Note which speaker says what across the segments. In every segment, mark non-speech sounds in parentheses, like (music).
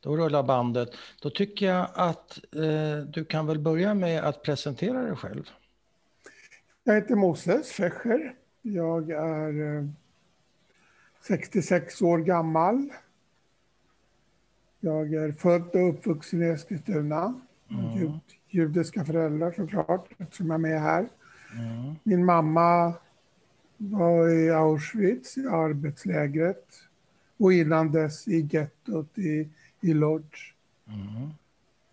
Speaker 1: Då rullar bandet. Då tycker jag att eh, du kan väl börja med att presentera dig själv.
Speaker 2: Jag heter Moses Fächer. Jag är eh, 66 år gammal. Jag är född och uppvuxen i Eskilstuna.
Speaker 1: Mm.
Speaker 2: Jud, judiska föräldrar såklart, eftersom jag är med här.
Speaker 1: Mm.
Speaker 2: Min mamma var i Auschwitz, i arbetslägret. Och innan dess i gettot i, i Lodz.
Speaker 1: Mm.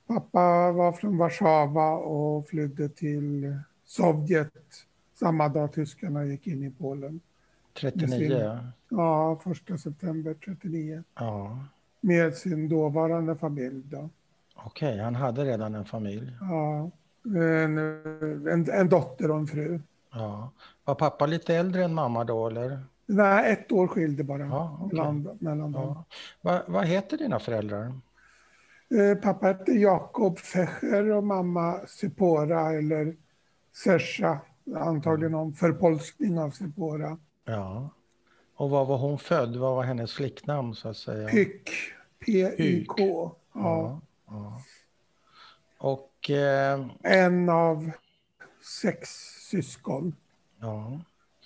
Speaker 2: Pappa var från Warszawa och flydde till Sovjet samma dag tyskarna gick in i Polen.
Speaker 1: 39.
Speaker 2: Ja, 1 september 39.
Speaker 1: Ja,
Speaker 2: Med sin dåvarande familj då.
Speaker 1: okej. Han hade redan en familj.
Speaker 2: Ja, en, en, en dotter och en fru.
Speaker 1: Ja. Var pappa lite äldre än mamma då, eller?
Speaker 2: Nej, ett år skilde bara
Speaker 1: Ja, okej.
Speaker 2: mellan, mellan dem.
Speaker 1: Ja. Va, vad heter dina föräldrar?
Speaker 2: Eh, Pappa hette Jakob Fecher och mamma Sipora eller Sersa. Antagligen någon förpolskning av Sipora.
Speaker 1: Ja. Och var var hon född? Vad var hennes flicknamn, så att säga?
Speaker 2: Pyk, P-Y-K. Ja.
Speaker 1: Ja. ja. Och... Eh,
Speaker 2: En av sex syskon.
Speaker 1: ja.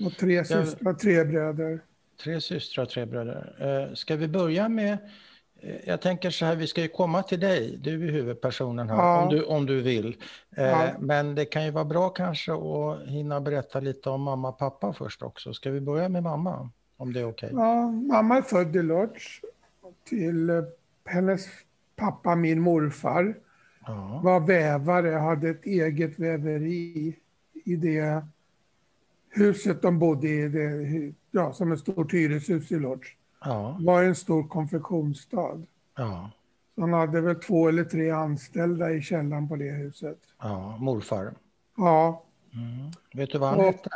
Speaker 2: Och tre systrar, tre bröder.
Speaker 1: Tre systrar och tre bröder. Eh, Ska vi börja med... eh, Jag tänker så här, vi ska ju komma till dig. Du är huvudpersonen här,
Speaker 2: Ja.
Speaker 1: om, du, om du vill. Eh,
Speaker 2: Ja.
Speaker 1: Men det kan ju vara bra kanske att hinna berätta lite om mamma och pappa först också. Ska vi börja med mamma? Om det är okej?
Speaker 2: Ja, mamma är född i Lodz. Till eh, hennes pappa, min morfar,
Speaker 1: Ja.
Speaker 2: var vävare, hade ett eget väveri i det huset de bodde i, det, hu- ja, som ett stort hyreshus i Lodz.
Speaker 1: Ja.
Speaker 2: var en stor konfektionsstad.
Speaker 1: ja,
Speaker 2: Så han hade väl två eller tre anställda i källaren på det huset.
Speaker 1: ja, morfar.
Speaker 2: Ja,
Speaker 1: Mm. Vet du vad han
Speaker 2: Och-
Speaker 1: hette?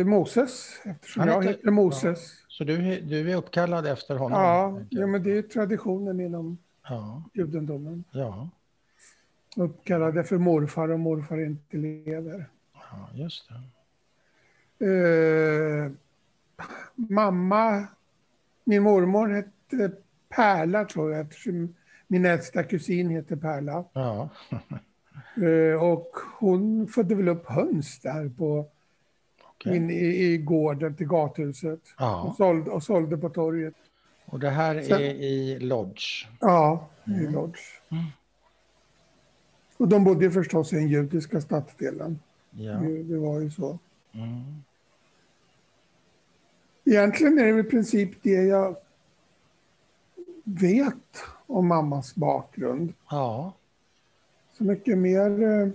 Speaker 2: eh, Moses, eftersom
Speaker 1: Han
Speaker 2: jag
Speaker 1: heter-
Speaker 2: heter Moses.
Speaker 1: Så du, du är uppkallad efter honom? helt
Speaker 2: Ja,
Speaker 1: enkelt.
Speaker 2: ja, men det är ju traditionen inom
Speaker 1: ja,
Speaker 2: judendomen.
Speaker 1: ja,
Speaker 2: Uppkallade för morfar och morfar inte lever.
Speaker 1: ja, just det.
Speaker 2: Eh, mamma, min mormor hette Pärla tror jag eftersom min äldsta kusin heter Pärla.
Speaker 1: Ja,
Speaker 2: Eh, och hon födde väl upp höns där på,
Speaker 1: okej.
Speaker 2: in i, i gården till gathuset.
Speaker 1: ja.
Speaker 2: Och, sålde, och sålde på torget.
Speaker 1: Och det här
Speaker 2: Sen-
Speaker 1: är i Lodge.
Speaker 2: Ja, i
Speaker 1: Mm.
Speaker 2: Lodz. Och de bodde ju förstås i den judiska stadsdelen.
Speaker 1: Ja.
Speaker 2: Det, det var ju så.
Speaker 1: Mm.
Speaker 2: Egentligen är det väl i princip det jag vet om mammas bakgrund.
Speaker 1: ja.
Speaker 2: Så mycket mer... eh,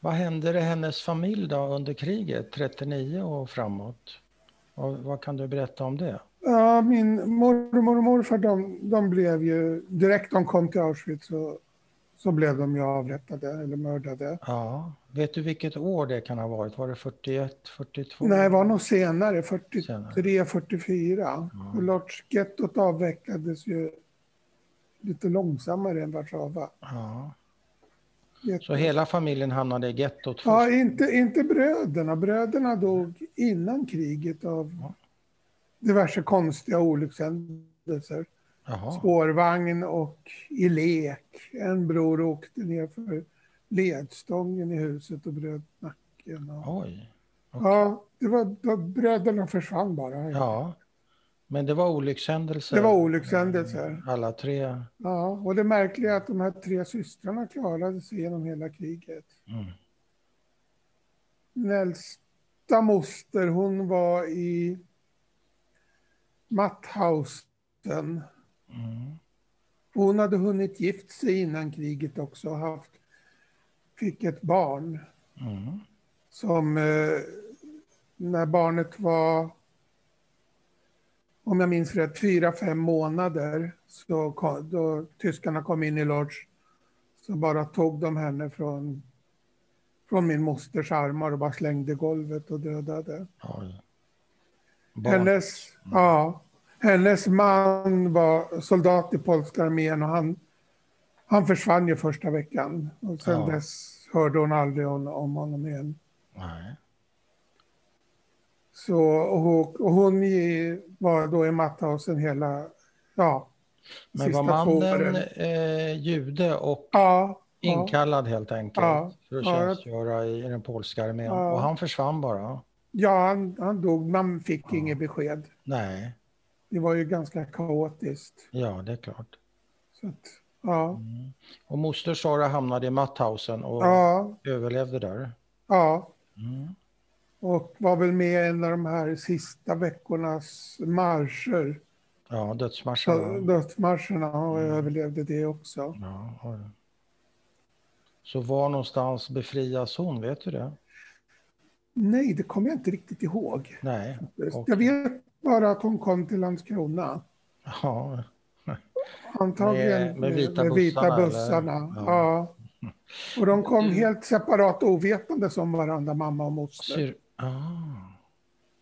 Speaker 1: Vad hände i hennes familj då under kriget, 39 och framåt? Och vad kan du berätta om det?
Speaker 2: Ja, min mormor och morfar de, de blev ju... Direkt de kom till Auschwitz så, så blev de ju avrättade eller mördade.
Speaker 1: Ja. Vet du vilket år det kan ha varit? Var det 41, 42?
Speaker 2: Nej, det var nog senare, 43,
Speaker 1: Senare.
Speaker 2: 44.
Speaker 1: Ja.
Speaker 2: Och Lodz-gettot avvecklades ju lite långsammare än Warszawa.
Speaker 1: Ja.
Speaker 2: Get-
Speaker 1: Så hela familjen hamnade i gettot först?
Speaker 2: Ja, inte, inte bröderna. Bröderna dog innan kriget av
Speaker 1: Ja.
Speaker 2: diverse konstiga olyckshändelser.
Speaker 1: Jaha.
Speaker 2: spårvagn och i lek. En bror åkte ner för ledstången i huset och bröt nacken. Och...
Speaker 1: Oj.
Speaker 2: Ja, det var, det var, bröderna försvann bara.
Speaker 1: Ja. Men det var olyckshändelser?
Speaker 2: Det var olyckshändelser.
Speaker 1: Alla tre?
Speaker 2: Ja, och det märkliga är att de här tre systrarna klarade sig genom hela kriget.
Speaker 1: Mm.
Speaker 2: Den äldsta moster, hon var i Matthausen.
Speaker 1: Mm.
Speaker 2: Hon hade hunnit gift sig innan kriget också och haft, fick ett barn.
Speaker 1: Mm.
Speaker 2: som eh, när barnet var, om jag minns rätt, fyra, fem månader, så kom, då tyskarna kom in i Lodz, så bara tog de henne från, från min mosters armar och bara slängde i golvet och dödade.
Speaker 1: Oj. Barn. Mm.
Speaker 2: Hennes, ja, hennes man var soldat i polska armén och han, han försvann ju första veckan. Och sen
Speaker 1: Ja.
Speaker 2: dess hörde hon aldrig om, om honom igen.
Speaker 1: Nej.
Speaker 2: Så, och, och hon i- var då i Matthausen hela, ja,
Speaker 1: Men
Speaker 2: Sista
Speaker 1: var
Speaker 2: två
Speaker 1: mannen
Speaker 2: åren.
Speaker 1: eh, jude och
Speaker 2: Ja, ja,
Speaker 1: inkallad helt enkelt
Speaker 2: Ja.
Speaker 1: för att
Speaker 2: Ja.
Speaker 1: tjänstgöra i, i den polska armén?
Speaker 2: Ja.
Speaker 1: Och han försvann bara?
Speaker 2: ja han, han dog. Man fick inget besked.
Speaker 1: Nej,
Speaker 2: Det var ju ganska kaotiskt.
Speaker 1: ja det är klart.
Speaker 2: Så att, ja,
Speaker 1: Mm. Och moster Sara hamnade i Matthausen och
Speaker 2: ja,
Speaker 1: överlevde där?
Speaker 2: ja.
Speaker 1: Mm.
Speaker 2: Och var väl med i en av de här sista veckornas marscher.
Speaker 1: Ja, Mm. dödsmarschen.
Speaker 2: Så
Speaker 1: va?
Speaker 2: Dödsmarscherna och överlevde det också.
Speaker 1: Ja, har det. Så var någonstans befrias hon? Vet du det?
Speaker 2: Nej, det kommer jag inte riktigt ihåg.
Speaker 1: Nej. Och-
Speaker 2: Jag vet bara att hon kom till Landskrona.
Speaker 1: Ja,
Speaker 2: Antagligen
Speaker 1: Med- med vita bussarna, eller?
Speaker 2: bussarna.
Speaker 1: Ja. Mm.
Speaker 2: Ja. Och de kom helt separat och ovetandes om varandra, mamma och moster.
Speaker 1: syr... ah.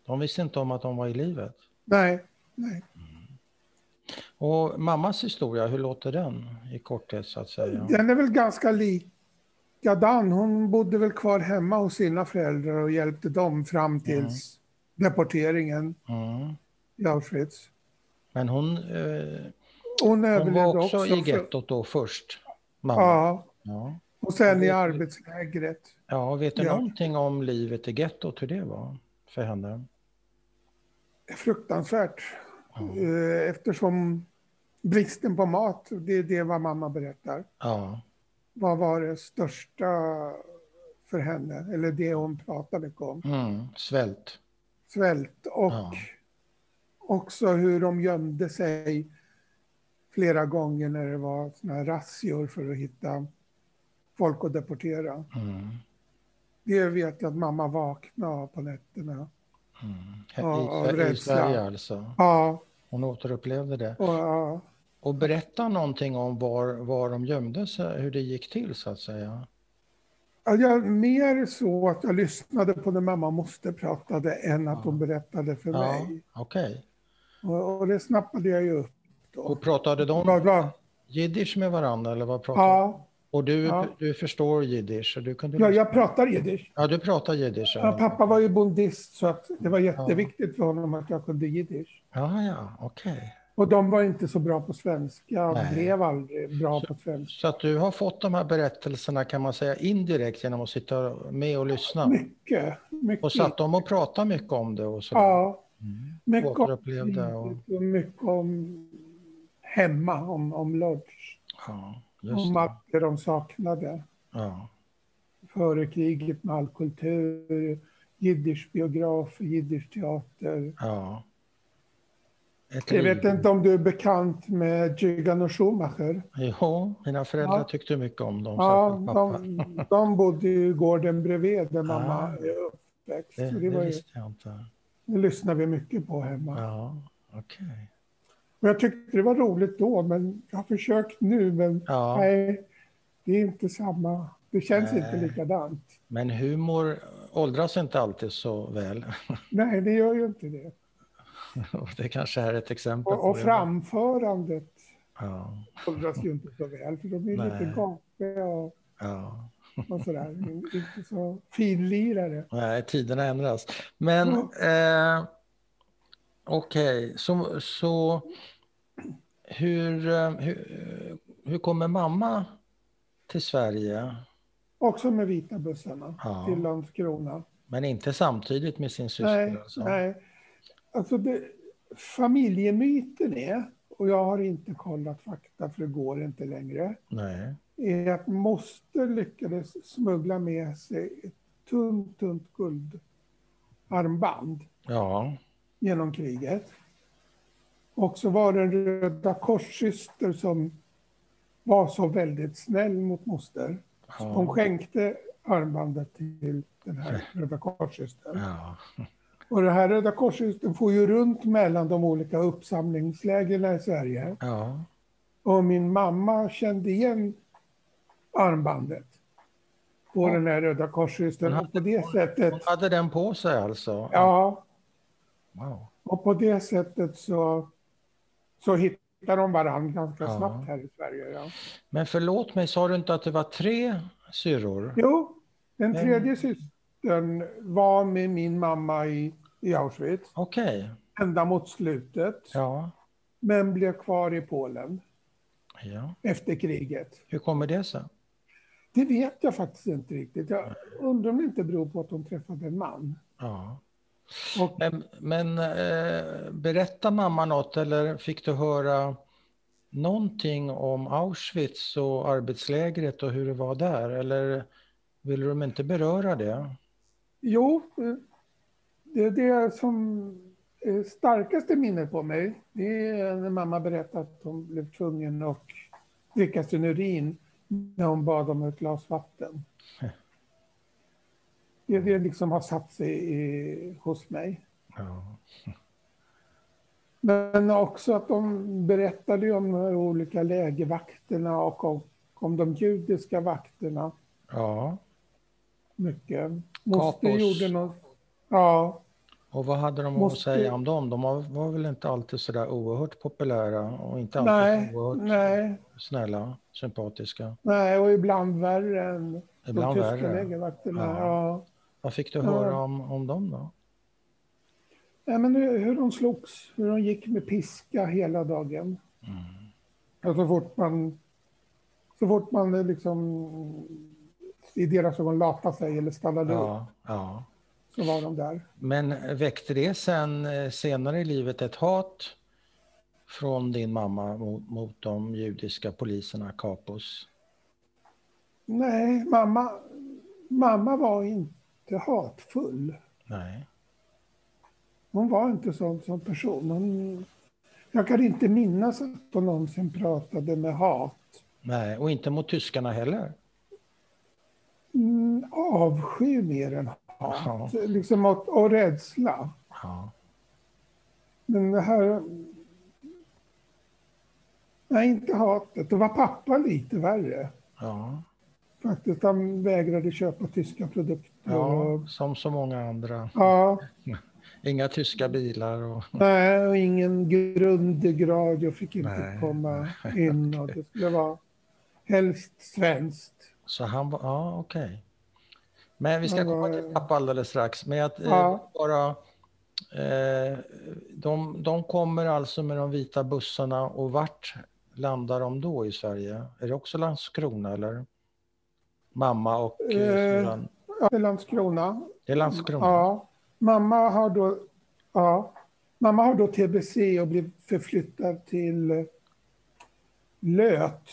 Speaker 1: De visste inte om att de var i livet.
Speaker 2: Nej, nej.
Speaker 1: Och mammas historia, hur låter den i korthet så att säga?
Speaker 2: Den är väl ganska likadan. Hon bodde väl kvar hemma hos sina föräldrar och hjälpte dem fram tills deporteringen
Speaker 1: Mm.
Speaker 2: i Auschwitz.
Speaker 1: Men hon, eh,
Speaker 2: Hon
Speaker 1: hon
Speaker 2: överlevde
Speaker 1: var också, i
Speaker 2: för-
Speaker 1: gettot då först? Mamma.
Speaker 2: Ja,
Speaker 1: Ja.
Speaker 2: och sen i
Speaker 1: Hon-
Speaker 2: arbetslägret.
Speaker 1: ja, vet du
Speaker 2: Ja.
Speaker 1: någonting om livet i gettot, hur det var för henne?
Speaker 2: Fruktansvärt. Eh, Eftersom bristen på mat, det är det vad mamma berättar.
Speaker 1: Ja,
Speaker 2: Vad var det största för henne? Eller det hon pratade mycket om.
Speaker 1: mm. svält.
Speaker 2: Svält och
Speaker 1: Ja.
Speaker 2: också hur de gömde sig flera gånger när det var såna här razzior för att hitta folk att deportera.
Speaker 1: Mm.
Speaker 2: Det vet jag att mamma vaknade av på nätterna. Ja, av
Speaker 1: I, i, I
Speaker 2: rädsla.
Speaker 1: Sverige alltså.
Speaker 2: Ja,
Speaker 1: Hon återupplevde det.
Speaker 2: och, ja.
Speaker 1: Och berätta någonting om var, var de gömde sig, hur det gick till så att säga.
Speaker 2: Ja, Jag, mer så att jag lyssnade på när mamma och moster pratade än att hon berättade för
Speaker 1: Ja,
Speaker 2: mig.
Speaker 1: okej.
Speaker 2: Och, och det snappade jag ju upp.
Speaker 1: Och pratade
Speaker 2: Bra,
Speaker 1: de
Speaker 2: bra.
Speaker 1: jiddisch med varandra eller vad pratade de?
Speaker 2: Ja,
Speaker 1: Och du,
Speaker 2: Ja.
Speaker 1: du förstår jiddisch? och Du kunde
Speaker 2: ja,
Speaker 1: lyssna-
Speaker 2: jag pratar jiddisch.
Speaker 1: ja, du pratar jiddisch?
Speaker 2: Ja, pappa var ju bondist så att det var jätteviktigt för honom att jag kunde jiddisch.
Speaker 1: Ja, ja, okej.
Speaker 2: Och de var inte så bra på svenska och
Speaker 1: Nej.
Speaker 2: blev aldrig bra på svenska.
Speaker 1: Så att du har fått de här berättelserna kan man säga indirekt genom att sitta med och lyssna?
Speaker 2: Mycket, mycket.
Speaker 1: Och satt de och pratade mycket om det och så? Mm.
Speaker 2: Ja. Mycket om
Speaker 1: Återupplevde och-
Speaker 2: livet och mycket om hemma, om, om Lodz.
Speaker 1: Ja, just
Speaker 2: Om
Speaker 1: det.
Speaker 2: allt det de saknade.
Speaker 1: Ja.
Speaker 2: före kriget med all kultur, jiddischbiograf, jiddischteater.
Speaker 1: ja. Ett
Speaker 2: Jag
Speaker 1: liv.
Speaker 2: vet inte om du är bekant med Gigan Schumacher?
Speaker 1: Jo, mina föräldrar
Speaker 2: Ja.
Speaker 1: tyckte mycket om dem.
Speaker 2: Ja,
Speaker 1: särskilt pappa.
Speaker 2: de, de bodde ju i gården bredvid där mamma
Speaker 1: Ah.
Speaker 2: är uppväxt.
Speaker 1: det,
Speaker 2: Så
Speaker 1: det
Speaker 2: det, var ju,
Speaker 1: visste jag inte.
Speaker 2: det lyssnade vi mycket på hemma.
Speaker 1: Ja, okej.
Speaker 2: Och jag tyckte det var roligt då, men jag har försökt nu, men
Speaker 1: Ja.
Speaker 2: nej, det är inte samma. Det känns
Speaker 1: Nej.
Speaker 2: inte likadant.
Speaker 1: Men humor åldras inte alltid så väl. (laughs)
Speaker 2: Nej, det gör ju inte det.
Speaker 1: Och det kanske är ett exempel
Speaker 2: Och, och
Speaker 1: det.
Speaker 2: framförandet
Speaker 1: Ja,
Speaker 2: åldras ju inte så väl, för de är
Speaker 1: Nej.
Speaker 2: lite gapiga och,
Speaker 1: ja.
Speaker 2: och sådär. Inte så finlirare.
Speaker 1: Nej, tiderna ändras. Men
Speaker 2: Mm.
Speaker 1: eh, okej, så, så hur, eh, hur, hur kommer mamma till Sverige?
Speaker 2: Också med vita bussarna
Speaker 1: Ja.
Speaker 2: till Landskrona.
Speaker 1: Men inte samtidigt med sin syster?
Speaker 2: Nej,
Speaker 1: alltså.
Speaker 2: nej. Alltså det, familjemyten är, och jag har inte kollat fakta för det går inte längre,
Speaker 1: nej.
Speaker 2: är att moster lyckades smuggla med sig ett tunt, tunt guldarmband
Speaker 1: Ja,
Speaker 2: genom kriget. Och så var det en Röda korssyster som var så väldigt snäll mot moster.
Speaker 1: Ja.
Speaker 2: Hon skänkte armbandet till den här Röda korssystern.
Speaker 1: ja.
Speaker 2: Och den här Röda korssystern får ju runt mellan de olika uppsamlingslägren i Sverige.
Speaker 1: ja.
Speaker 2: Och min mamma kände igen armbandet på den här Röda korssystern. Och på det sättet,
Speaker 1: Hon hade den på sig alltså?
Speaker 2: ja,
Speaker 1: Wow.
Speaker 2: Och på det sättet så, så hittar de varandra ganska
Speaker 1: Ja.
Speaker 2: snabbt här i Sverige. Ja.
Speaker 1: Men förlåt mig, sa du inte att det var tre syrror?
Speaker 2: Jo, den
Speaker 1: Men-
Speaker 2: tredje systern var med min mamma i, i Auschwitz
Speaker 1: Okej.
Speaker 2: ända mot slutet.
Speaker 1: Ja.
Speaker 2: men blev kvar i Polen
Speaker 1: Ja.
Speaker 2: efter kriget.
Speaker 1: Hur kommer det sig?
Speaker 2: Det vet jag faktiskt inte riktigt. Jag undrar om det inte beror på att hon träffade en man.
Speaker 1: Ja.
Speaker 2: Och
Speaker 1: Men, men eh, berättar mamma något eller fick du höra någonting om Auschwitz och arbetslägret och hur det var där? Eller ville de inte beröra det?
Speaker 2: jo, eh, det, det som eh, starkaste minnet på mig, det är när mamma berättade att hon blev tvungen att dricka sin urin när hon bad om ett glas vatten. Det, det liksom har satt sig i, hos mig.
Speaker 1: Ja.
Speaker 2: Men också att de berättade ju om de här olika lägervakterna och om, om de judiska vakterna
Speaker 1: ja.
Speaker 2: mycket. Moster
Speaker 1: Kapos.
Speaker 2: gjorde någon... Ja,
Speaker 1: Och vad hade de att
Speaker 2: Måste-
Speaker 1: säga om dem? De var- var väl inte alltid sådär oerhört populära och inte alltid
Speaker 2: nej,
Speaker 1: så oerhört
Speaker 2: nej,
Speaker 1: snälla, sympatiska.
Speaker 2: nej, och ibland värre än
Speaker 1: Ibland
Speaker 2: de tyska
Speaker 1: värre.
Speaker 2: lägervakterna.
Speaker 1: Ja.
Speaker 2: Ja.
Speaker 1: Vad fick du
Speaker 2: Ja.
Speaker 1: höra om, om dem då?
Speaker 2: Nej, men hur, hur de slogs, hur de gick med piska hela dagen.
Speaker 1: Mm.
Speaker 2: Och så fort man... Så fort man eh, liksom i deras ögon lapade sig eller stannade upp
Speaker 1: Ja, ja.
Speaker 2: så var de där.
Speaker 1: Men väckte det sen eh, senare i livet ett hat från din mamma mot, mot de judiska poliserna, Kapos?
Speaker 2: Nej, mamma, mamma var inte hatfull.
Speaker 1: Nej.
Speaker 2: Hon var inte sån som person. Hon, jag kan inte minnas att hon någonsin pratade med hat.
Speaker 1: Nej, och inte mot tyskarna heller?
Speaker 2: Mm, avsky mer än
Speaker 1: Ja.
Speaker 2: hat. Liksom och, och rädsla.
Speaker 1: Ja.
Speaker 2: Men det här... Nej, inte hatet. Det var pappa lite värre.
Speaker 1: Ja.
Speaker 2: Faktiskt, han vägrade köpa tyska produkter.
Speaker 1: ja,
Speaker 2: Och,
Speaker 1: som så många andra.
Speaker 2: ja,
Speaker 1: Inga tyska bilar och...
Speaker 2: Nej, och ingen grundgrad. Jag fick inte
Speaker 1: Nej.
Speaker 2: komma in. Och det skulle vara helst svenskt.
Speaker 1: Så han var, ja okej. Men vi ska
Speaker 2: Han
Speaker 1: komma
Speaker 2: var-
Speaker 1: till pappa alldeles strax. Men att eh,
Speaker 2: Ja.
Speaker 1: bara, eh, de, de kommer alltså med de vita bussarna och vart landar de då i Sverige? Är det också Landskrona eller? Mamma och eh,
Speaker 2: Eh,
Speaker 1: syrran?
Speaker 2: Ja, till Landskrona.
Speaker 1: Det är Landskrona?
Speaker 2: Ja. Mamma har då... Ja. Mamma har då tbc och blev förflyttad till eh, Löt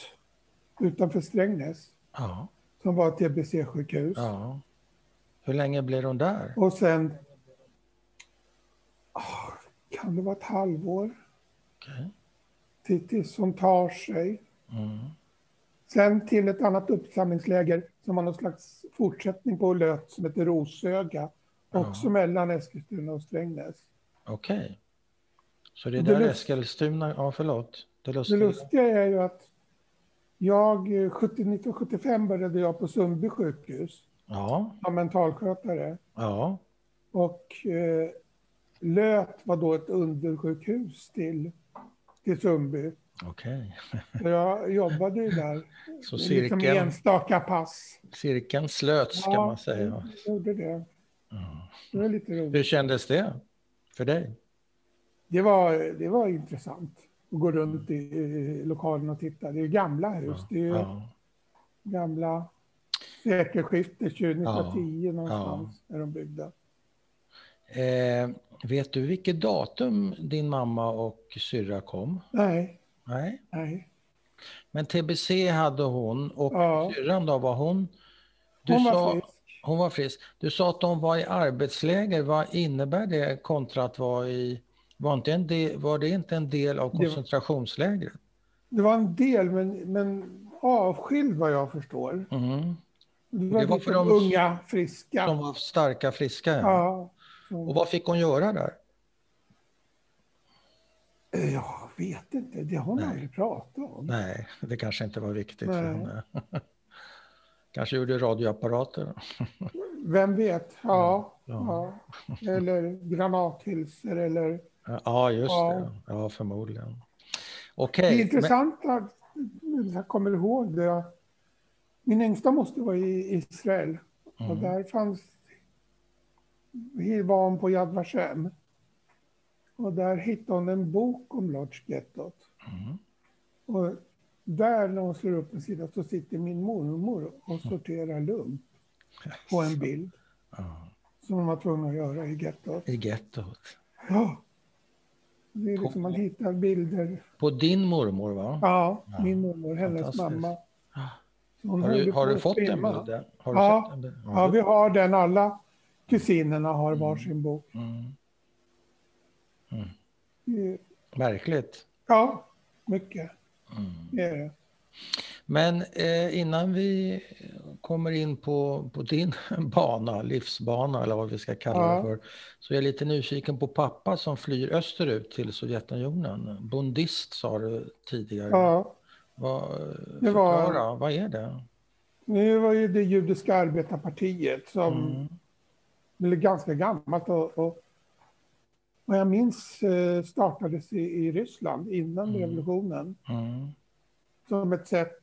Speaker 2: utanför Strängnäs
Speaker 1: Ja.
Speaker 2: som var ett tbc-sjukhus.
Speaker 1: ja. Hur länge blir de där?
Speaker 2: Och sen... Ah, kan det vara ett halvår
Speaker 1: Okej.
Speaker 2: till- tills hon tar sig.
Speaker 1: Mm.
Speaker 2: Sen till ett annat uppsamlingsläger som var någon slags fortsättning på Löt som heter Rosöga. Också mellan Eskilstuna och Strängnäs.
Speaker 1: Okej. Så det är
Speaker 2: Det
Speaker 1: där
Speaker 2: lust-
Speaker 1: Eskilstuna, ja förlåt. Det
Speaker 2: Det
Speaker 1: lustiga.
Speaker 2: lustiga är ju att jag, eh, 70 1975 började jag på Sundby sjukhus
Speaker 1: Ja,
Speaker 2: som mentalskötare.
Speaker 1: ja,
Speaker 2: Och eh, Löt var då ett undersjukhus till, till Sundby.
Speaker 1: okej.
Speaker 2: Så Jag jobbade ju där.
Speaker 1: Så
Speaker 2: Liksom
Speaker 1: cirkeln,
Speaker 2: enstaka pass.
Speaker 1: cirkeln slöts kan
Speaker 2: Ja,
Speaker 1: man säga.
Speaker 2: jag Gjorde det. Det var lite roligt.
Speaker 1: Hur kändes det för dig?
Speaker 2: Det var, det var intressant att gå runt i, i lokalen och titta. Det är gamla hus. Det är ju
Speaker 1: Ja,
Speaker 2: gamla sekelskiftet, 1910 någonstans, när de byggde.
Speaker 1: Eh, vet du vilket datum din mamma och syrra kom?
Speaker 2: Nej,
Speaker 1: Nej.
Speaker 2: nej.
Speaker 1: Men TBC hade hon och
Speaker 2: Ja.
Speaker 1: syrran då, var hon? Du
Speaker 2: Hon
Speaker 1: sa,
Speaker 2: var frisk.
Speaker 1: hon var frisk. Du sa att de var i arbetsläger. Vad innebär det kontra att vara i... Var, inte en del, var det inte en del av
Speaker 2: var-
Speaker 1: koncentrationslägret?
Speaker 2: Det var en del, men, men avskild vad jag förstår.
Speaker 1: Mm.
Speaker 2: Det var,
Speaker 1: Det var för
Speaker 2: liksom
Speaker 1: de-
Speaker 2: unga, friska.
Speaker 1: De var starka, friska. Ja.
Speaker 2: ja.
Speaker 1: Och vad fick hon göra där?
Speaker 2: Jag vet inte, det har hon
Speaker 1: Nej.
Speaker 2: aldrig pratat om.
Speaker 1: Nej, det kanske inte var viktigt för
Speaker 2: Nej.
Speaker 1: henne. (laughs) kanske gjorde radioapparater.
Speaker 2: Vem vet? Ja,
Speaker 1: Ja.
Speaker 2: ja. Eller granathylsor eller...
Speaker 1: Ja, just
Speaker 2: Ja.
Speaker 1: det. Ja, förmodligen.
Speaker 2: Det
Speaker 1: Okej.
Speaker 2: är intressant att jag kommer ihåg det. Min yngsta måste vara i Israel.
Speaker 1: Mm.
Speaker 2: Och där fanns... Var hon på Yad Vashem. Och där hittade hon en bok om Lodz-gettot.
Speaker 1: Mm.
Speaker 2: Och där, när hon slår upp en sida, så sitter min mormor och
Speaker 1: Mm.
Speaker 2: sorterar lump på en bild.
Speaker 1: Ja.
Speaker 2: Som hon var tvungen att göra i gettot.
Speaker 1: I gettot.
Speaker 2: Ja. Det är liksom, man hittar bilder.
Speaker 1: På din mormor, va?
Speaker 2: Ja, min mormor, hennes
Speaker 1: Fantastiskt.
Speaker 2: mamma.
Speaker 1: Ja.
Speaker 2: Så hon
Speaker 1: Har
Speaker 2: höll ju
Speaker 1: du, har
Speaker 2: på
Speaker 1: du
Speaker 2: att
Speaker 1: fått en
Speaker 2: filma.
Speaker 1: bild? där? Har du
Speaker 2: Ja.
Speaker 1: sett en bild?
Speaker 2: Ja, vi har den. Alla kusinerna har varsin bok.
Speaker 1: Mm.
Speaker 2: Det är-
Speaker 1: Märkligt.
Speaker 2: Ja, mycket.
Speaker 1: Mm.
Speaker 2: Det är det.
Speaker 1: Men eh, innan vi kommer in på, på din (laughs) bana, livsbana eller vad vi ska kalla det
Speaker 2: Ja.
Speaker 1: för, så är jag lite nyfiken på pappa som flyr österut till Sovjetunionen. Bondist sa du tidigare.
Speaker 2: Ja,
Speaker 1: Vad,
Speaker 2: Det var-
Speaker 1: förklara, vad är det?
Speaker 2: nu var ju det judiska arbetarpartiet som
Speaker 1: Mm.
Speaker 2: blev ganska gammalt och, och vad jag minns eh, startades i, i Ryssland innan
Speaker 1: Mm.
Speaker 2: revolutionen
Speaker 1: Mm.
Speaker 2: som ett sätt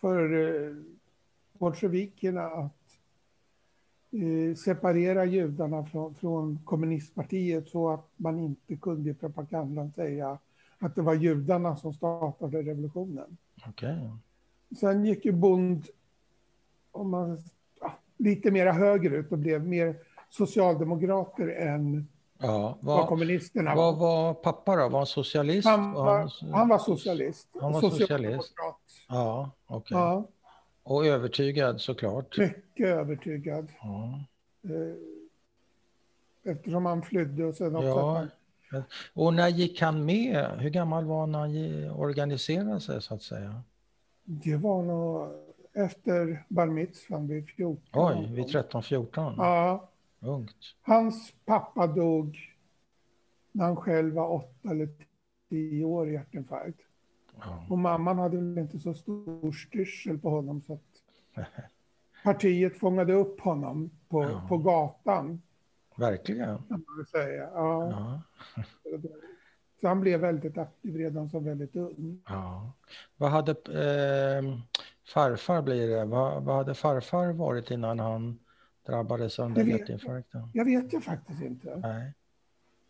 Speaker 2: för eh, bolsjevikerna att eh, separera judarna från, från kommunistpartiet så att man inte kunde i propagandan säga att det var judarna som startade revolutionen.
Speaker 1: Okej.
Speaker 2: Sen gick ju Bond om man, ja, lite mera högerut och blev mer socialdemokrater än
Speaker 1: Ja,
Speaker 2: vad
Speaker 1: vad,
Speaker 2: kommunisterna
Speaker 1: vad
Speaker 2: var.
Speaker 1: var pappa då? Var han socialist?
Speaker 2: Han
Speaker 1: han-
Speaker 2: var, han var socialist.
Speaker 1: Han var socialist.
Speaker 2: Socialdemokrat.
Speaker 1: Ja, okej.
Speaker 2: Ja,
Speaker 1: Och övertygad såklart.
Speaker 2: mycket övertygad.
Speaker 1: Ja.
Speaker 2: eh, Eftersom han flydde och sen också att
Speaker 1: Ja.
Speaker 2: han,
Speaker 1: Och när gick han med? Hur gammal var han när han ge- organiserade sig så att säga?
Speaker 2: det var nog efter bar mitzvan vid 14.
Speaker 1: Oj, vid 13-14?
Speaker 2: Ja,
Speaker 1: Ungt.
Speaker 2: hans pappa dog när han själv var åtta eller tio år i hjärtinfarkt.
Speaker 1: Ja.
Speaker 2: Och mamman hade väl inte så stor styrsel på honom
Speaker 1: (laughs)
Speaker 2: så att partiet fångade upp honom på,
Speaker 1: Ja.
Speaker 2: på gatan.
Speaker 1: Verkligen.
Speaker 2: Kan man väl säga. Ja.
Speaker 1: Ja.
Speaker 2: Så han blev väldigt aktiv redan som väldigt ung.
Speaker 1: Ja. Vad hade eh, farfar blir det? Vad, vad hade farfar varit innan han drabbades av den där
Speaker 2: Det vet jag.
Speaker 1: hjärtinfarkten?
Speaker 2: Jag vet ju faktiskt inte.
Speaker 1: Nej.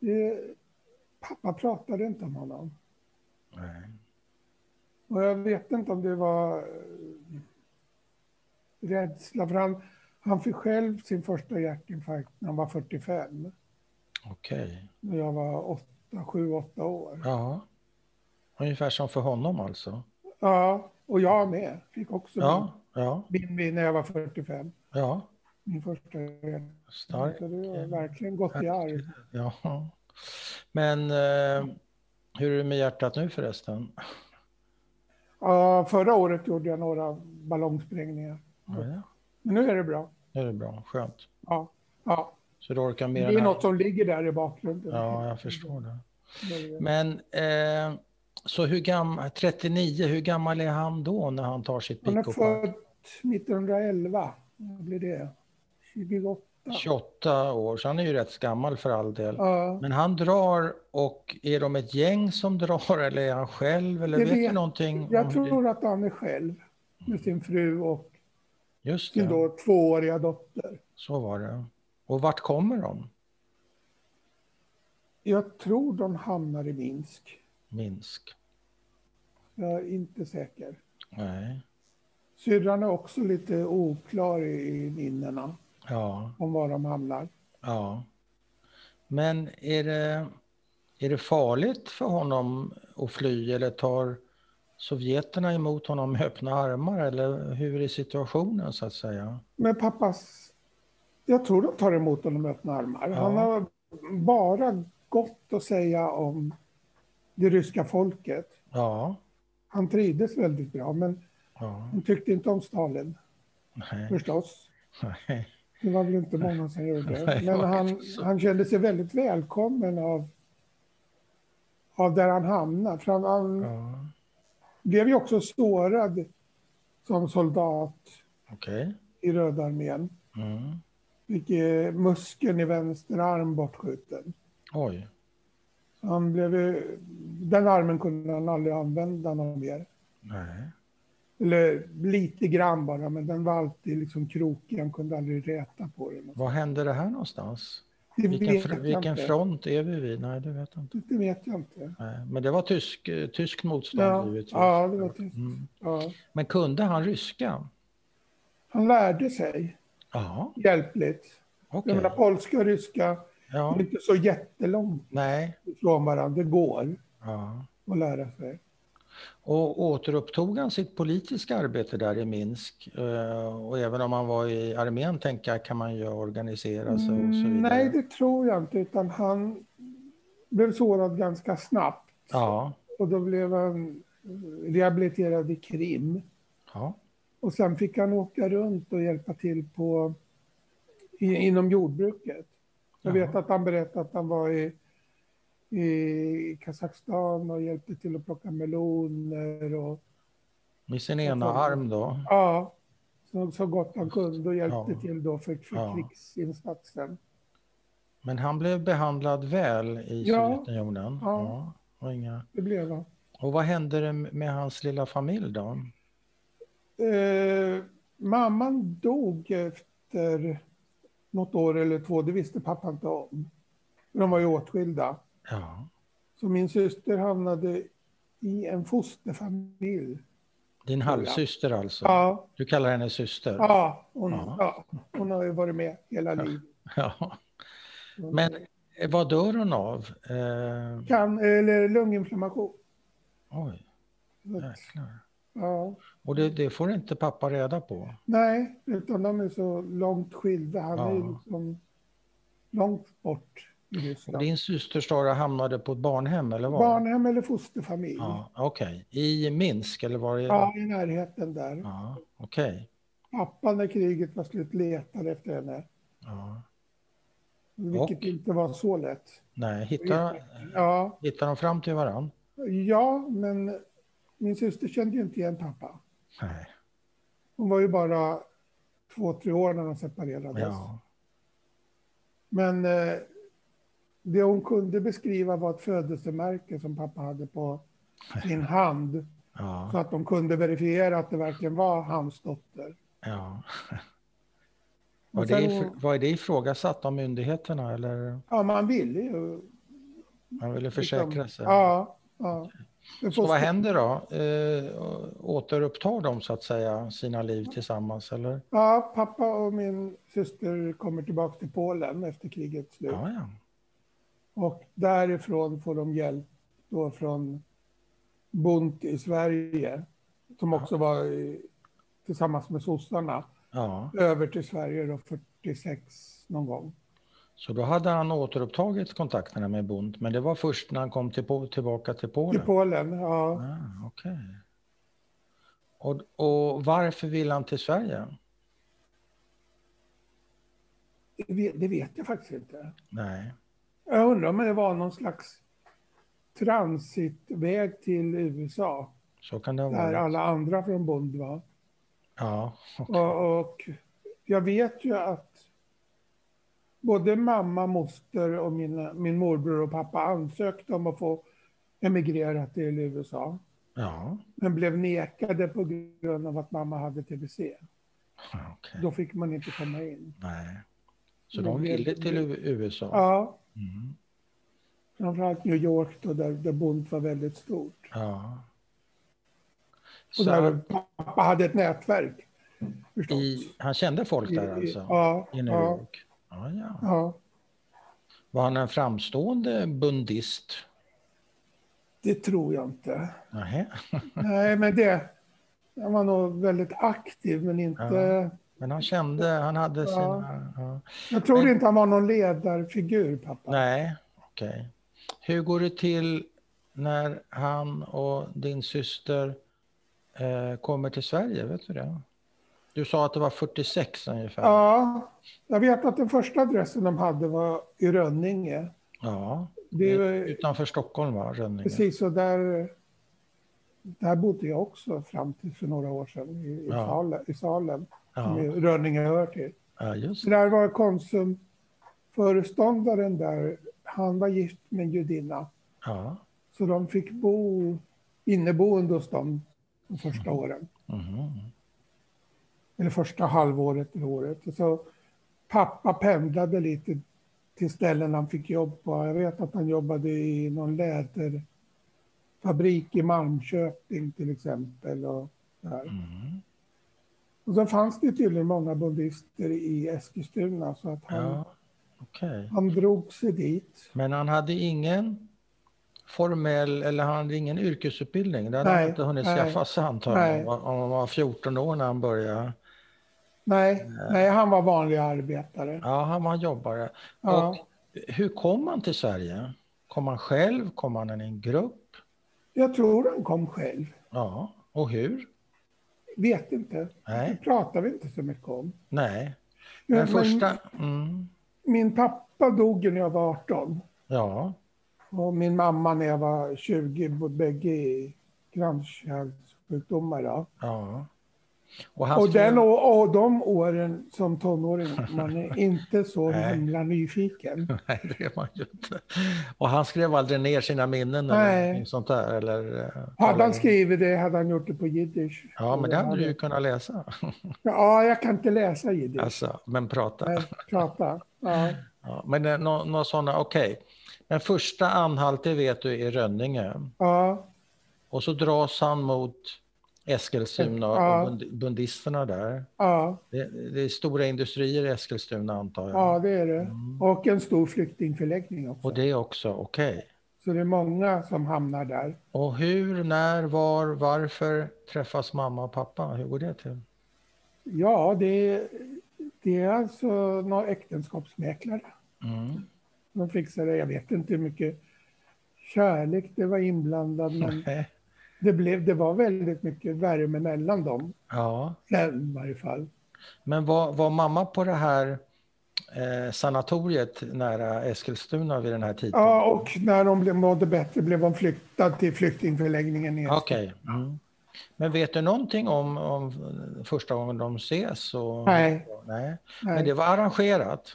Speaker 2: Det, Eh, pappa pratade inte om honom.
Speaker 1: Nej.
Speaker 2: Och jag vet inte om det var eh, rädsla. För han, han fick själv sin första hjärtinfarkt när han var 45.
Speaker 1: Okej.
Speaker 2: När jag var 8, 7, 8 år.
Speaker 1: Ja. Ungefär som för honom alltså?
Speaker 2: Ja, och jag med. Fick också
Speaker 1: Ja, ja,
Speaker 2: min, min när jag var 45.
Speaker 1: ja.
Speaker 2: Min första hjärtinfarkt.
Speaker 1: Stark.
Speaker 2: Så det har verkligen gått i arv.
Speaker 1: Ja. Men eh, hur är det med hjärtat nu förresten?
Speaker 2: Ja, förra året gjorde jag några ballongsprängningar.
Speaker 1: Ja, ja.
Speaker 2: Men nu är det bra.
Speaker 1: Nu är det bra, skönt.
Speaker 2: Ja, ja.
Speaker 1: Så du orkar
Speaker 2: Det
Speaker 1: med
Speaker 2: är
Speaker 1: den här?
Speaker 2: något som ligger där i bakgrunden.
Speaker 1: Ja, jag förstår det.
Speaker 2: Det är det.
Speaker 1: Men eh, så hur gammal, 39, hur gammal är han då när han tar sitt
Speaker 2: Han är
Speaker 1: pick och pack?
Speaker 2: född 1911. Vad blir det? 28.
Speaker 1: 28 år, så han är ju rätt gammal för all del.
Speaker 2: Ja.
Speaker 1: Men han drar och är de ett gäng som drar eller är han själv eller
Speaker 2: Det
Speaker 1: vet du
Speaker 2: vet-
Speaker 1: någonting? om
Speaker 2: Jag
Speaker 1: det?
Speaker 2: tror att han är själv med sin fru och
Speaker 1: Just
Speaker 2: sin
Speaker 1: det,
Speaker 2: då tvååriga dotter.
Speaker 1: så var det. Och vart kommer de?
Speaker 2: Jag tror de hamnar i Minsk.
Speaker 1: Minsk?
Speaker 2: Jag är inte säker.
Speaker 1: Nej.
Speaker 2: Syrran är också lite oklar i i minnena
Speaker 1: Ja,
Speaker 2: om var de hamnar.
Speaker 1: ja. Men är det, är det farligt för honom att fly eller tar Sovjeterna emot honom med öppna armar eller hur är situationen så att säga?
Speaker 2: Men pappas... Jag tror de tar emot honom med öppna armar. Han
Speaker 1: Ja.
Speaker 2: har bara gott att säga om det ryska folket.
Speaker 1: Ja,
Speaker 2: Han trivdes väldigt bra, men
Speaker 1: ja,
Speaker 2: han tyckte inte om Stalin
Speaker 1: nej,
Speaker 2: förstås.
Speaker 1: nej,
Speaker 2: Det var väl inte många som
Speaker 1: (laughs) Nej,
Speaker 2: gjorde. Men
Speaker 1: det var
Speaker 2: han,
Speaker 1: inte så.
Speaker 2: han kände sig väldigt välkommen av, av där han hamnade. För han, han
Speaker 1: ja,
Speaker 2: blev ju också sårad som soldat
Speaker 1: okej.
Speaker 2: i Röda armén.
Speaker 1: Mm.
Speaker 2: Fick eh, muskeln i vänster arm bortskjuten.
Speaker 1: Oj,
Speaker 2: Han blev, ju- den armen kunde han aldrig använda någon mer.
Speaker 1: nej,
Speaker 2: Eller lite grann bara, men den var alltid liksom krokig. Han kunde aldrig räta på den.
Speaker 1: var hände det här någonstans?
Speaker 2: Det
Speaker 1: Vilken,
Speaker 2: vet
Speaker 1: fr-
Speaker 2: jag
Speaker 1: vilken
Speaker 2: inte.
Speaker 1: front är vi vid? Nej, det vet jag inte.
Speaker 2: Det vet jag inte.
Speaker 1: Nej, Men det var tysk, eh, tyskt motstånd
Speaker 2: Ja,
Speaker 1: givetvis.
Speaker 2: ja, det var tyst.
Speaker 1: Mm.
Speaker 2: Ja.
Speaker 1: Men kunde han ryska?
Speaker 2: Han lärde sig
Speaker 1: Ja,
Speaker 2: hjälpligt.
Speaker 1: okej.
Speaker 2: Jag menar, polska och ryska
Speaker 1: Ja,
Speaker 2: är inte så jättelångt
Speaker 1: nej.
Speaker 2: ifrån varandra. Det går
Speaker 1: Ja.
Speaker 2: att lära sig.
Speaker 1: Och återupptog han sitt politiska arbete där i Minsk? Eh, Och även om han var i armén, tänker jag, kan man ju organisera sig Alltså, och så
Speaker 2: Mm,
Speaker 1: vidare.
Speaker 2: Nej, det tror jag inte. Utan han blev sårad ganska snabbt.
Speaker 1: Ja,
Speaker 2: Och då blev han eh, rehabiliterad i Krim.
Speaker 1: ja.
Speaker 2: Och sen fick han åka runt och hjälpa till på, i, inom jordbruket. Jag
Speaker 1: Jaha.
Speaker 2: vet att han berättade att han var i, i Kazakstan och hjälpte till att plocka meloner och
Speaker 1: Med sin ena
Speaker 2: tror-
Speaker 1: arm då.
Speaker 2: ja, så, så gott han kunde och hjälpte
Speaker 1: Ja.
Speaker 2: till då för, för
Speaker 1: Ja.
Speaker 2: krigsinsatsen.
Speaker 1: Men han blev behandlad väl i
Speaker 2: Ja.
Speaker 1: Sovjetunionen.
Speaker 2: Ja.
Speaker 1: Ja, och, inga.
Speaker 2: Det blev han.
Speaker 1: och vad hände det med hans lilla familj då?
Speaker 2: Eh, mamman dog efter något år eller två, det visste pappa inte om. De var ju åtskilda.
Speaker 1: Ja,
Speaker 2: Så min syster hamnade i en fosterfamilj.
Speaker 1: din halvsyster alltså.
Speaker 2: Ja,
Speaker 1: Du kallar henne syster.
Speaker 2: ja, hon,
Speaker 1: Ja.
Speaker 2: ja, hon har ju varit med hela livet.
Speaker 1: (laughs) Ja. Men eh, vad dör hon av? Eh,
Speaker 2: Kan, eller lunginflammation.
Speaker 1: oj,
Speaker 2: Så att,
Speaker 1: jäklar.
Speaker 2: Ja.
Speaker 1: Och
Speaker 2: Mm.
Speaker 1: det, det får inte pappa reda på.
Speaker 2: Nej, utan de är så långt skilda. Han är
Speaker 1: Ja.
Speaker 2: ju liksom långt bort i
Speaker 1: Och
Speaker 2: Ryssland.
Speaker 1: din syster Sara hamnade på ett barnhem eller var?
Speaker 2: Barnhem eller fosterfamilj. Ja,
Speaker 1: Ja, Okej, i Minsk eller var det?
Speaker 2: i närheten där.
Speaker 1: Ja, Okej.
Speaker 2: Pappa när kriget var slut letade efter henne.
Speaker 1: Ja.
Speaker 2: Vilket
Speaker 1: Och?
Speaker 2: inte var så lätt.
Speaker 1: Nej, hittar,
Speaker 2: Ja,
Speaker 1: hittar de fram till varann?
Speaker 2: Ja, men min syster kände ju inte igen pappa.
Speaker 1: Nej.
Speaker 2: Hon var ju bara två, tre år när de separerades.
Speaker 1: Ja.
Speaker 2: Men eh, det hon kunde beskriva var ett födelsemärke som pappa hade på sin hand.
Speaker 1: Ja.
Speaker 2: Så att de kunde verifiera att det verkligen var hans dotter. (laughs)
Speaker 1: ja.
Speaker 2: Och
Speaker 1: Var, det
Speaker 2: sen-
Speaker 1: if- var det ifrågasatt av myndigheterna eller
Speaker 2: Ja, man ville ju.
Speaker 1: man ville försäkra sig?
Speaker 2: Liksom- Ja, ja. Det
Speaker 1: Så
Speaker 2: får-
Speaker 1: vad händer då? Eh, å- återupptar de så att säga sina liv tillsammans eller?
Speaker 2: Ja, pappa och min syster kommer tillbaka till Polen efter krigets slut.
Speaker 1: Ja, ja.
Speaker 2: Och därifrån får de hjälp då från Bunt i Sverige, som också var i, tillsammans med sossarna,
Speaker 1: ja.
Speaker 2: över till Sverige då 46 någon gång.
Speaker 1: Så då hade han återupptagit kontakterna med Bund, men det var först när han kom till, Po- tillbaka till
Speaker 2: Till
Speaker 1: Polen?
Speaker 2: Polen, ja.
Speaker 1: Ah, Okej. Och, och varför vill han till Sverige?
Speaker 2: Det vet, det vet jag faktiskt inte.
Speaker 1: Nej.
Speaker 2: Jag undrar om det var någon slags transitväg till USA,
Speaker 1: Så kan det ha
Speaker 2: där
Speaker 1: varit.
Speaker 2: alla andra från Bund var.
Speaker 1: Ja, (laughs) okej.
Speaker 2: Och, och jag vet ju att både mamma, moster och mina, min morbror och pappa ansökte om att få emigrera till USA.
Speaker 1: ja.
Speaker 2: Men blev nekade på grund av att mamma hade tbc.
Speaker 1: ja, okej.
Speaker 2: Då fick man inte komma in.
Speaker 1: Nej. Så
Speaker 2: Men
Speaker 1: de
Speaker 2: det-
Speaker 1: ville till U- USA?
Speaker 2: Ja,
Speaker 1: Mm.
Speaker 2: framförallt New York då, där, där Bond var väldigt stort.
Speaker 1: Ja.
Speaker 2: Och
Speaker 1: Så
Speaker 2: där
Speaker 1: att
Speaker 2: pappa hade ett nätverk. Förstås.
Speaker 1: i, han kände folk där alltså?
Speaker 2: Ja,
Speaker 1: I New
Speaker 2: ja,
Speaker 1: York? Ja, ja.
Speaker 2: ja.
Speaker 1: Var han en framstående bundist?
Speaker 2: Det tror jag inte.
Speaker 1: Nähä.
Speaker 2: Nej, men det... Han var nog väldigt aktiv, men inte...
Speaker 1: Ja. Men han kände, han hade sina... Ja.
Speaker 2: Jag tror inte han var någon ledarfigur, pappa.
Speaker 1: Nej, okej. Hur går det till när han och din syster eh, kommer till Sverige? Vet du det? Du sa att det var 46 ungefär.
Speaker 2: Ja, jag vet att den första adressen de hade var i Rönninge.
Speaker 1: Ja,
Speaker 2: Det är ju-
Speaker 1: utanför Stockholm va? Rönninge?
Speaker 2: Precis, och där, där bodde jag också fram till för några år sedan i, i,
Speaker 1: Ja.
Speaker 2: Sale, i Salem, som
Speaker 1: Ja,
Speaker 2: ju Rönninge hör till.
Speaker 1: ja just
Speaker 2: Så där var Konsumföreståndaren där, han var gift med en judinna.
Speaker 1: ja.
Speaker 2: Så de fick bo inneboende hos dem de första
Speaker 1: Mm.
Speaker 2: åren.
Speaker 1: Mhm.
Speaker 2: eller första halvåret eller året. Och så pappa pendlade lite till ställen han fick jobb på. Jag vet att han jobbade i någon läderfabrik i Malmköping till exempel. Och, där.
Speaker 1: Mm.
Speaker 2: och sen fanns det tydligen många buddister i Eskilstuna så att han,
Speaker 1: Ja, okej.
Speaker 2: han drog sig dit.
Speaker 1: Men han hade ingen formell, eller han hade ingen yrkesutbildning. Det hade
Speaker 2: Nej,
Speaker 1: han inte hunnit
Speaker 2: nej,
Speaker 1: skaffa sig
Speaker 2: nej.
Speaker 1: antagligen. Om han var 14 år när han började.
Speaker 2: Nej, nej han var vanlig arbetare.
Speaker 1: Ja, han var en jobbare.
Speaker 2: Ja.
Speaker 1: Och hur kom han till Sverige? Kom han själv? Kom han i en grupp?
Speaker 2: Jag tror han kom själv.
Speaker 1: Ja, och hur?
Speaker 2: Vet inte. Det
Speaker 1: Nej,
Speaker 2: pratar vi inte så mycket om.
Speaker 1: nej.
Speaker 2: Men-
Speaker 1: Den
Speaker 2: men
Speaker 1: första... Mm,
Speaker 2: Min pappa dog ju när jag var 18.
Speaker 1: ja,
Speaker 2: Och min mamma när jag var 20, bo- bägge i kranskärlssjukdomar. Då.
Speaker 1: ja. Och, hans
Speaker 2: Och,
Speaker 1: fru-
Speaker 2: den, och, och de åren som tonåring,
Speaker 1: (laughs)
Speaker 2: man är inte så
Speaker 1: Nej.
Speaker 2: himla nyfiken.
Speaker 1: (laughs) Nej, det är man ju inte. Och han skrev aldrig ner sina minnen eller
Speaker 2: Nej.
Speaker 1: någonting sånt där? Eller, eh,
Speaker 2: Hade
Speaker 1: eller-
Speaker 2: han skrivit det hade han gjort det på jiddisch.
Speaker 1: Ja, men det hade du ju kunnat läsa.
Speaker 2: Ja, jag kan inte läsa jiddisch.
Speaker 1: Alltså, men prata.
Speaker 2: Nej, prata. Ja.
Speaker 1: Ja, men eh, nå- några sådana, okej. Men första anhalt, det vet du, är Rönninge.
Speaker 2: ja.
Speaker 1: Och så dras han mot Eskilstuna
Speaker 2: Ja.
Speaker 1: och bund- bundisterna där.
Speaker 2: Ja,
Speaker 1: Det, det är stora industrier i Eskilstuna antar jag.
Speaker 2: ja, det är det. Och en stor flyktingförläggning också.
Speaker 1: Mm. Och det också, okej.
Speaker 2: Så det är många som hamnar där.
Speaker 1: Och hur, när, var, varför träffas mamma och pappa? Hur går det till?
Speaker 2: Ja, det, det är alltså några äktenskapsmäklare
Speaker 1: Mm.
Speaker 2: som fixar det. Jag vet inte hur mycket kärlek det var inblandad, men
Speaker 1: Nej.
Speaker 2: det, blev, det var väldigt mycket värme mellan dem.
Speaker 1: (laughs) Ja,
Speaker 2: Sen i varje fall.
Speaker 1: men var, var mamma på det här eh, sanatoriet nära Eskilstuna vid den här tiden?
Speaker 2: Ja, och när de blev, mådde bättre blev de flyttade till flyktingförläggningen. i Eskilstuna.
Speaker 1: Okej. Mm. Men vet du någonting om, om första gången de ses? Och,
Speaker 2: Nej.
Speaker 1: Nej. Men
Speaker 2: Nej.
Speaker 1: det var arrangerat?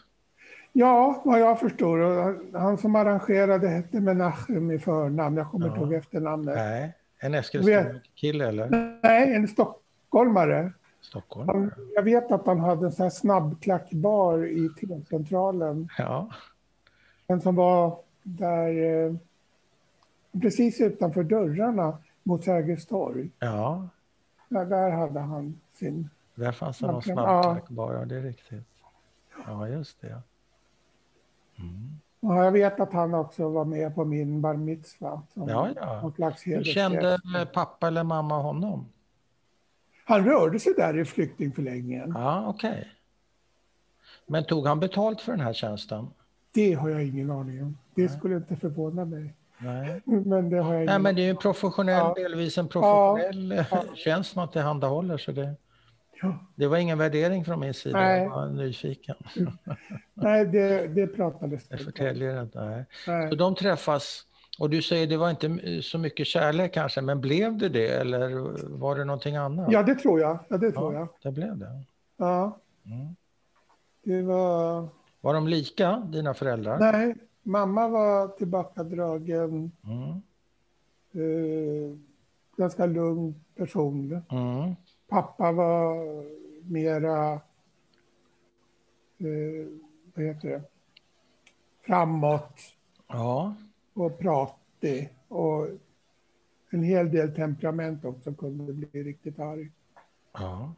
Speaker 2: Ja, vad jag förstår. och han- Han som arrangerade hette Menachem i förnamn. Jag kommer
Speaker 1: Ja.
Speaker 2: inte ihåg efternamnet.
Speaker 1: Nej. En
Speaker 2: Vet-
Speaker 1: Eskilstuna-kille eller
Speaker 2: Nej, en stockholmare.
Speaker 1: Stockholm?
Speaker 2: Han, jag vet att han hade en sån här snabbklackbar i T-centralen.
Speaker 1: Ja.
Speaker 2: Den som var där eh, precis utanför dörrarna mot Sergels torg.
Speaker 1: ja.
Speaker 2: Där, där hade han sin...
Speaker 1: Där fanns det någon
Speaker 2: Verkligen,
Speaker 1: snabbklack bara, ja, det är riktigt. Ja, just det.
Speaker 2: Och jag vet att han också var med på min bar mitzva. Som
Speaker 1: Ja, ja.
Speaker 2: någon slags
Speaker 1: Hur
Speaker 2: hederschef.
Speaker 1: kände pappa eller mamma honom?
Speaker 2: Han rörde sig där i flyktingförläggningen.
Speaker 1: Ja, okej. Men tog han betalt för den här tjänsten?
Speaker 2: Det har jag ingen aning om. Det skulle inte förvåna mig.
Speaker 1: Nej.
Speaker 2: Men det har jag
Speaker 1: Nej,
Speaker 2: ingen
Speaker 1: men det är ju en professionell,
Speaker 2: Ja.
Speaker 1: delvis en professionell eh, (laughs) tjänst man tillhandahåller. Så det,
Speaker 2: Ja.
Speaker 1: det var ingen värdering från min sida,
Speaker 2: Nej.
Speaker 1: jag var nyfiken.
Speaker 2: Nej, det, det pratades
Speaker 1: Jag
Speaker 2: inte om.
Speaker 1: förtäljer inte. Nej.
Speaker 2: Nej.
Speaker 1: Så de träffas, och du säger det var inte eh, så mycket kärlek kanske, men blev det det eller var det någonting annat?
Speaker 2: Ja, det tror jag. Ja, det tror jag.
Speaker 1: ja det blev det.
Speaker 2: Ja.
Speaker 1: Mm.
Speaker 2: Det var...
Speaker 1: Var de lika, dina föräldrar?
Speaker 2: Nej, mamma var tillbakadragen.
Speaker 1: Mm.
Speaker 2: Eh, ganska lugn person.
Speaker 1: Mm.
Speaker 2: Pappa var mera... Eh, vad heter det? Framåt
Speaker 1: Ja,
Speaker 2: och pratig. Och en hel del temperament också kunde bli riktigt arg.
Speaker 1: ja.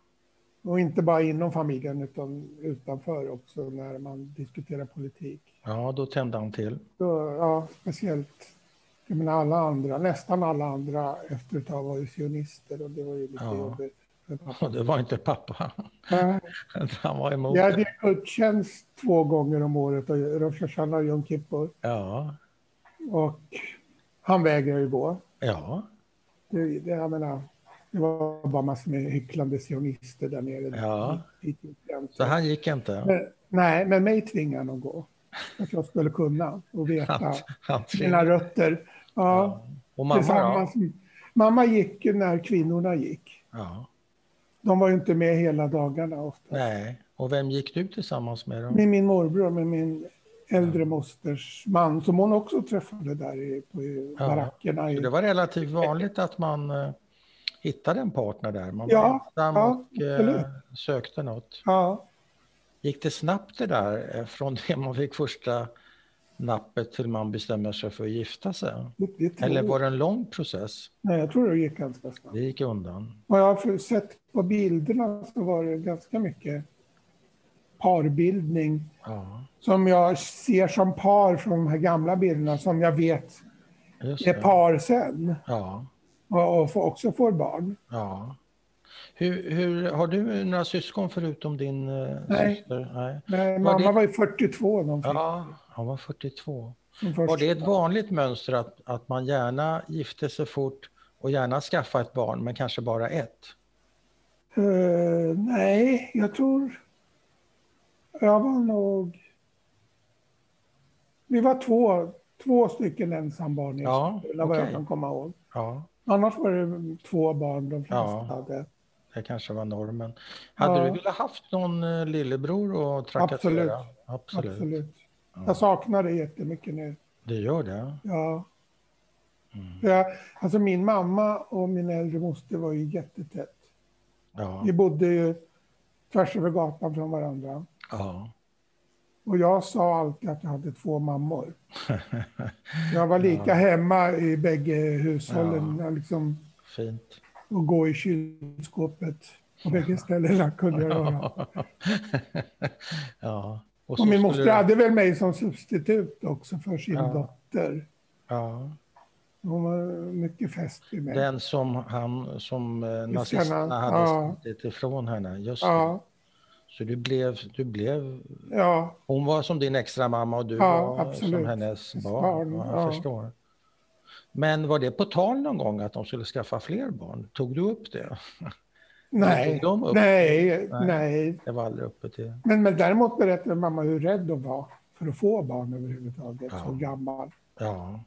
Speaker 2: Och inte bara inom familjen utan utanför också när man diskuterar politik.
Speaker 1: ja, då tände han till. (laughs)
Speaker 2: Då, ja, speciellt, jag menar alla andra, nästan alla andra efter ett tag var ju sionister och det var ju lite
Speaker 1: Ja.
Speaker 2: jobbigt. för pappa.
Speaker 1: Och det var inte pappa. (laughs)
Speaker 2: Ja,
Speaker 1: Han var emot
Speaker 2: Vi hade
Speaker 1: det.
Speaker 2: ju gudstjänst två gånger om året, och Rosh Hashanah och Yom Kippur.
Speaker 1: Ja,
Speaker 2: Och han vägrade ju gå.
Speaker 1: ja,
Speaker 2: Det, det, jag menar, det var bara massor med hycklande sionister där nere.
Speaker 1: Ja.
Speaker 2: Dit- dit gick jag inte.
Speaker 1: så han gick inte.
Speaker 2: Men, nej, men mig tvingade han att gå. Att jag skulle kunna
Speaker 1: Han,
Speaker 2: och veta
Speaker 1: han
Speaker 2: mina rötter. Ja,
Speaker 1: Och mamma då?
Speaker 2: tillsammans. Mamma gick ju när kvinnorna gick.
Speaker 1: Ja,
Speaker 2: De var ju inte med hela dagarna ofta.
Speaker 1: nej. Och vem gick du tillsammans med då?
Speaker 2: Med min morbror, med min äldre mosters man som hon också träffade där i, på i
Speaker 1: Ja.
Speaker 2: barackerna.
Speaker 1: Så Det
Speaker 2: I,
Speaker 1: var relativt vanligt att man eh, hittade en partner där. Man var
Speaker 2: Ja,
Speaker 1: ensam
Speaker 2: ja,
Speaker 1: och eh,
Speaker 2: absolut.
Speaker 1: sökte något.
Speaker 2: ja,
Speaker 1: Gick det snabbt det där eh, från det man fick första nappet till man bestämmer sig för att gifta sig?
Speaker 2: Det, det tror,
Speaker 1: Eller var det en lång process?
Speaker 2: Nej, jag tror det gick ganska snabbt.
Speaker 1: Det gick undan.
Speaker 2: Vad jag har för- sett på bilderna så var det ganska mycket parbildning
Speaker 1: Ja,
Speaker 2: som jag ser som par från de här gamla bilderna som jag vet
Speaker 1: just
Speaker 2: är
Speaker 1: det.
Speaker 2: par sen
Speaker 1: Ja,
Speaker 2: och, och får, också får barn.
Speaker 1: ja. Hur, hur, har du några syskon förutom din eh,
Speaker 2: Nej.
Speaker 1: syster? Nej.
Speaker 2: Men
Speaker 1: Var
Speaker 2: mamma
Speaker 1: det-
Speaker 2: var ju 42 de fick.
Speaker 1: Ja, han var 42.
Speaker 2: som
Speaker 1: Var
Speaker 2: först.
Speaker 1: det ett vanligt mönster att, att man gärna gifte sig fort och gärna skaffa ett barn, men kanske bara ett?
Speaker 2: Eh, nej, jag tror... Jag var nog... Vi var två, två stycken ensambarn i
Speaker 1: Ja,
Speaker 2: skolan, vad jag
Speaker 1: okej.
Speaker 2: kan komma ihåg.
Speaker 1: Ja,
Speaker 2: Annars var det två barn de flesta
Speaker 1: Ja.
Speaker 2: hade.
Speaker 1: det kanske var normen. Hade
Speaker 2: Ja.
Speaker 1: du velat haft någon eh, lillebror att trakassera?
Speaker 2: Absolut.
Speaker 1: Absolut.
Speaker 2: Absolut.
Speaker 1: Absolut.
Speaker 2: Jag saknar det jättemycket nu.
Speaker 1: Det gör det?
Speaker 2: Ja.
Speaker 1: Mm.
Speaker 2: För Jag, alltså min mamma och min äldre moster var ju jättetätt.
Speaker 1: Ja.
Speaker 2: Vi bodde ju tvärs över gatan från varandra.
Speaker 1: ja.
Speaker 2: Och jag sa alltid att jag hade två mammor.
Speaker 1: (laughs)
Speaker 2: Jag var lika hemma i bägge hushållen. Jag liksom,
Speaker 1: Fint.
Speaker 2: och gå i kylskåpet på bägge ställena kunde jag
Speaker 1: (laughs)
Speaker 2: göra.
Speaker 1: ja. så
Speaker 2: Och min
Speaker 1: skulle
Speaker 2: moster
Speaker 1: du-
Speaker 2: hade väl mig som substitut också för sin
Speaker 1: Ja.
Speaker 2: dotter.
Speaker 1: Ja.
Speaker 2: Hon var mycket fäst vid mig.
Speaker 1: Den som, han, som eh, nazisterna hade
Speaker 2: ja.
Speaker 1: skrivit ifrån henne. Just det.
Speaker 2: Ja,
Speaker 1: Så du blev, du blev
Speaker 2: ja,
Speaker 1: Hon var som din extra mamma och du
Speaker 2: Ja,
Speaker 1: var som
Speaker 2: absolut.
Speaker 1: hennes
Speaker 2: Hennes
Speaker 1: barn.
Speaker 2: barn,
Speaker 1: ja, jag
Speaker 2: ja.
Speaker 1: förstår. Men var det på tal någon gång att de skulle skaffa fler barn? Tog du upp det?
Speaker 2: nej,
Speaker 1: tog de upp?
Speaker 2: nej,
Speaker 1: Nej.
Speaker 2: nej.
Speaker 1: Det var aldrig uppe till...
Speaker 2: Men, men däremot berättade mamma hur rädd hon var för att få barn överhuvudtaget,
Speaker 1: Ja.
Speaker 2: så gammal.
Speaker 1: Ja,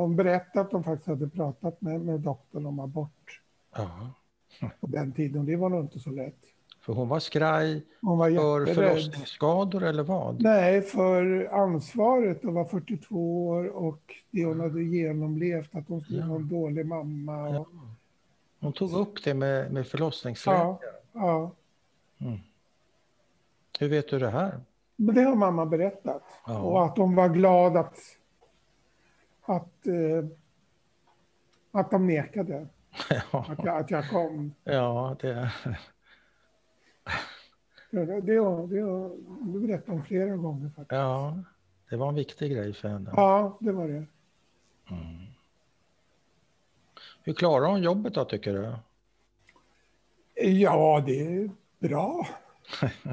Speaker 2: Hon berättade att de faktiskt hade pratat med, med doktorn om abort
Speaker 1: ja.
Speaker 2: på den tiden. Det var nog inte så lätt.
Speaker 1: För hon var skraj
Speaker 2: Hon var
Speaker 1: för
Speaker 2: jätterädd.
Speaker 1: förlossningsskador eller vad?
Speaker 2: Nej, för ansvaret att vara 42 år och det hon hade genomlevt, att hon skulle
Speaker 1: Ja.
Speaker 2: vara en dålig mamma. Och,
Speaker 1: Hon tog upp det med, med förlossningsläkare.
Speaker 2: ja, ja.
Speaker 1: Hur vet du det här?
Speaker 2: Men det har mamma berättat.
Speaker 1: Ja.
Speaker 2: Och att hon var glad att, att, eh, att de nekade
Speaker 1: ja,
Speaker 2: att jag, att jag kom.
Speaker 1: ja, det...
Speaker 2: Det, det, det, det berättade hon flera gånger faktiskt.
Speaker 1: Ja, det var en viktig grej för henne.
Speaker 2: Ja, det var det.
Speaker 1: Hur klarar hon jobbet då, tycker du?
Speaker 2: Ja, det är bra.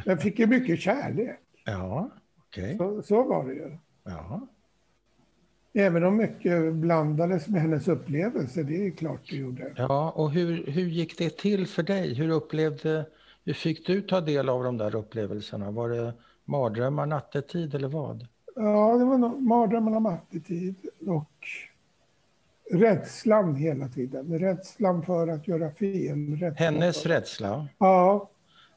Speaker 2: Jag fick ju mycket kärlek.
Speaker 1: Ja, okej.
Speaker 2: Så, så var det ju.
Speaker 1: Ja,
Speaker 2: Även om mycket blandades med hennes upplevelse, det är klart det gjorde.
Speaker 1: ja, och hur, hur gick det till för dig? Hur upplevde, hur fick du ta del av de där upplevelserna? Var det mardrömmar nattetid eller vad?
Speaker 2: Ja, det var nog mardrömmen om attetid och rädslan hela tiden. Rädslan för att göra fel. Rädslan
Speaker 1: Hennes
Speaker 2: för-
Speaker 1: rädsla?
Speaker 2: Ja,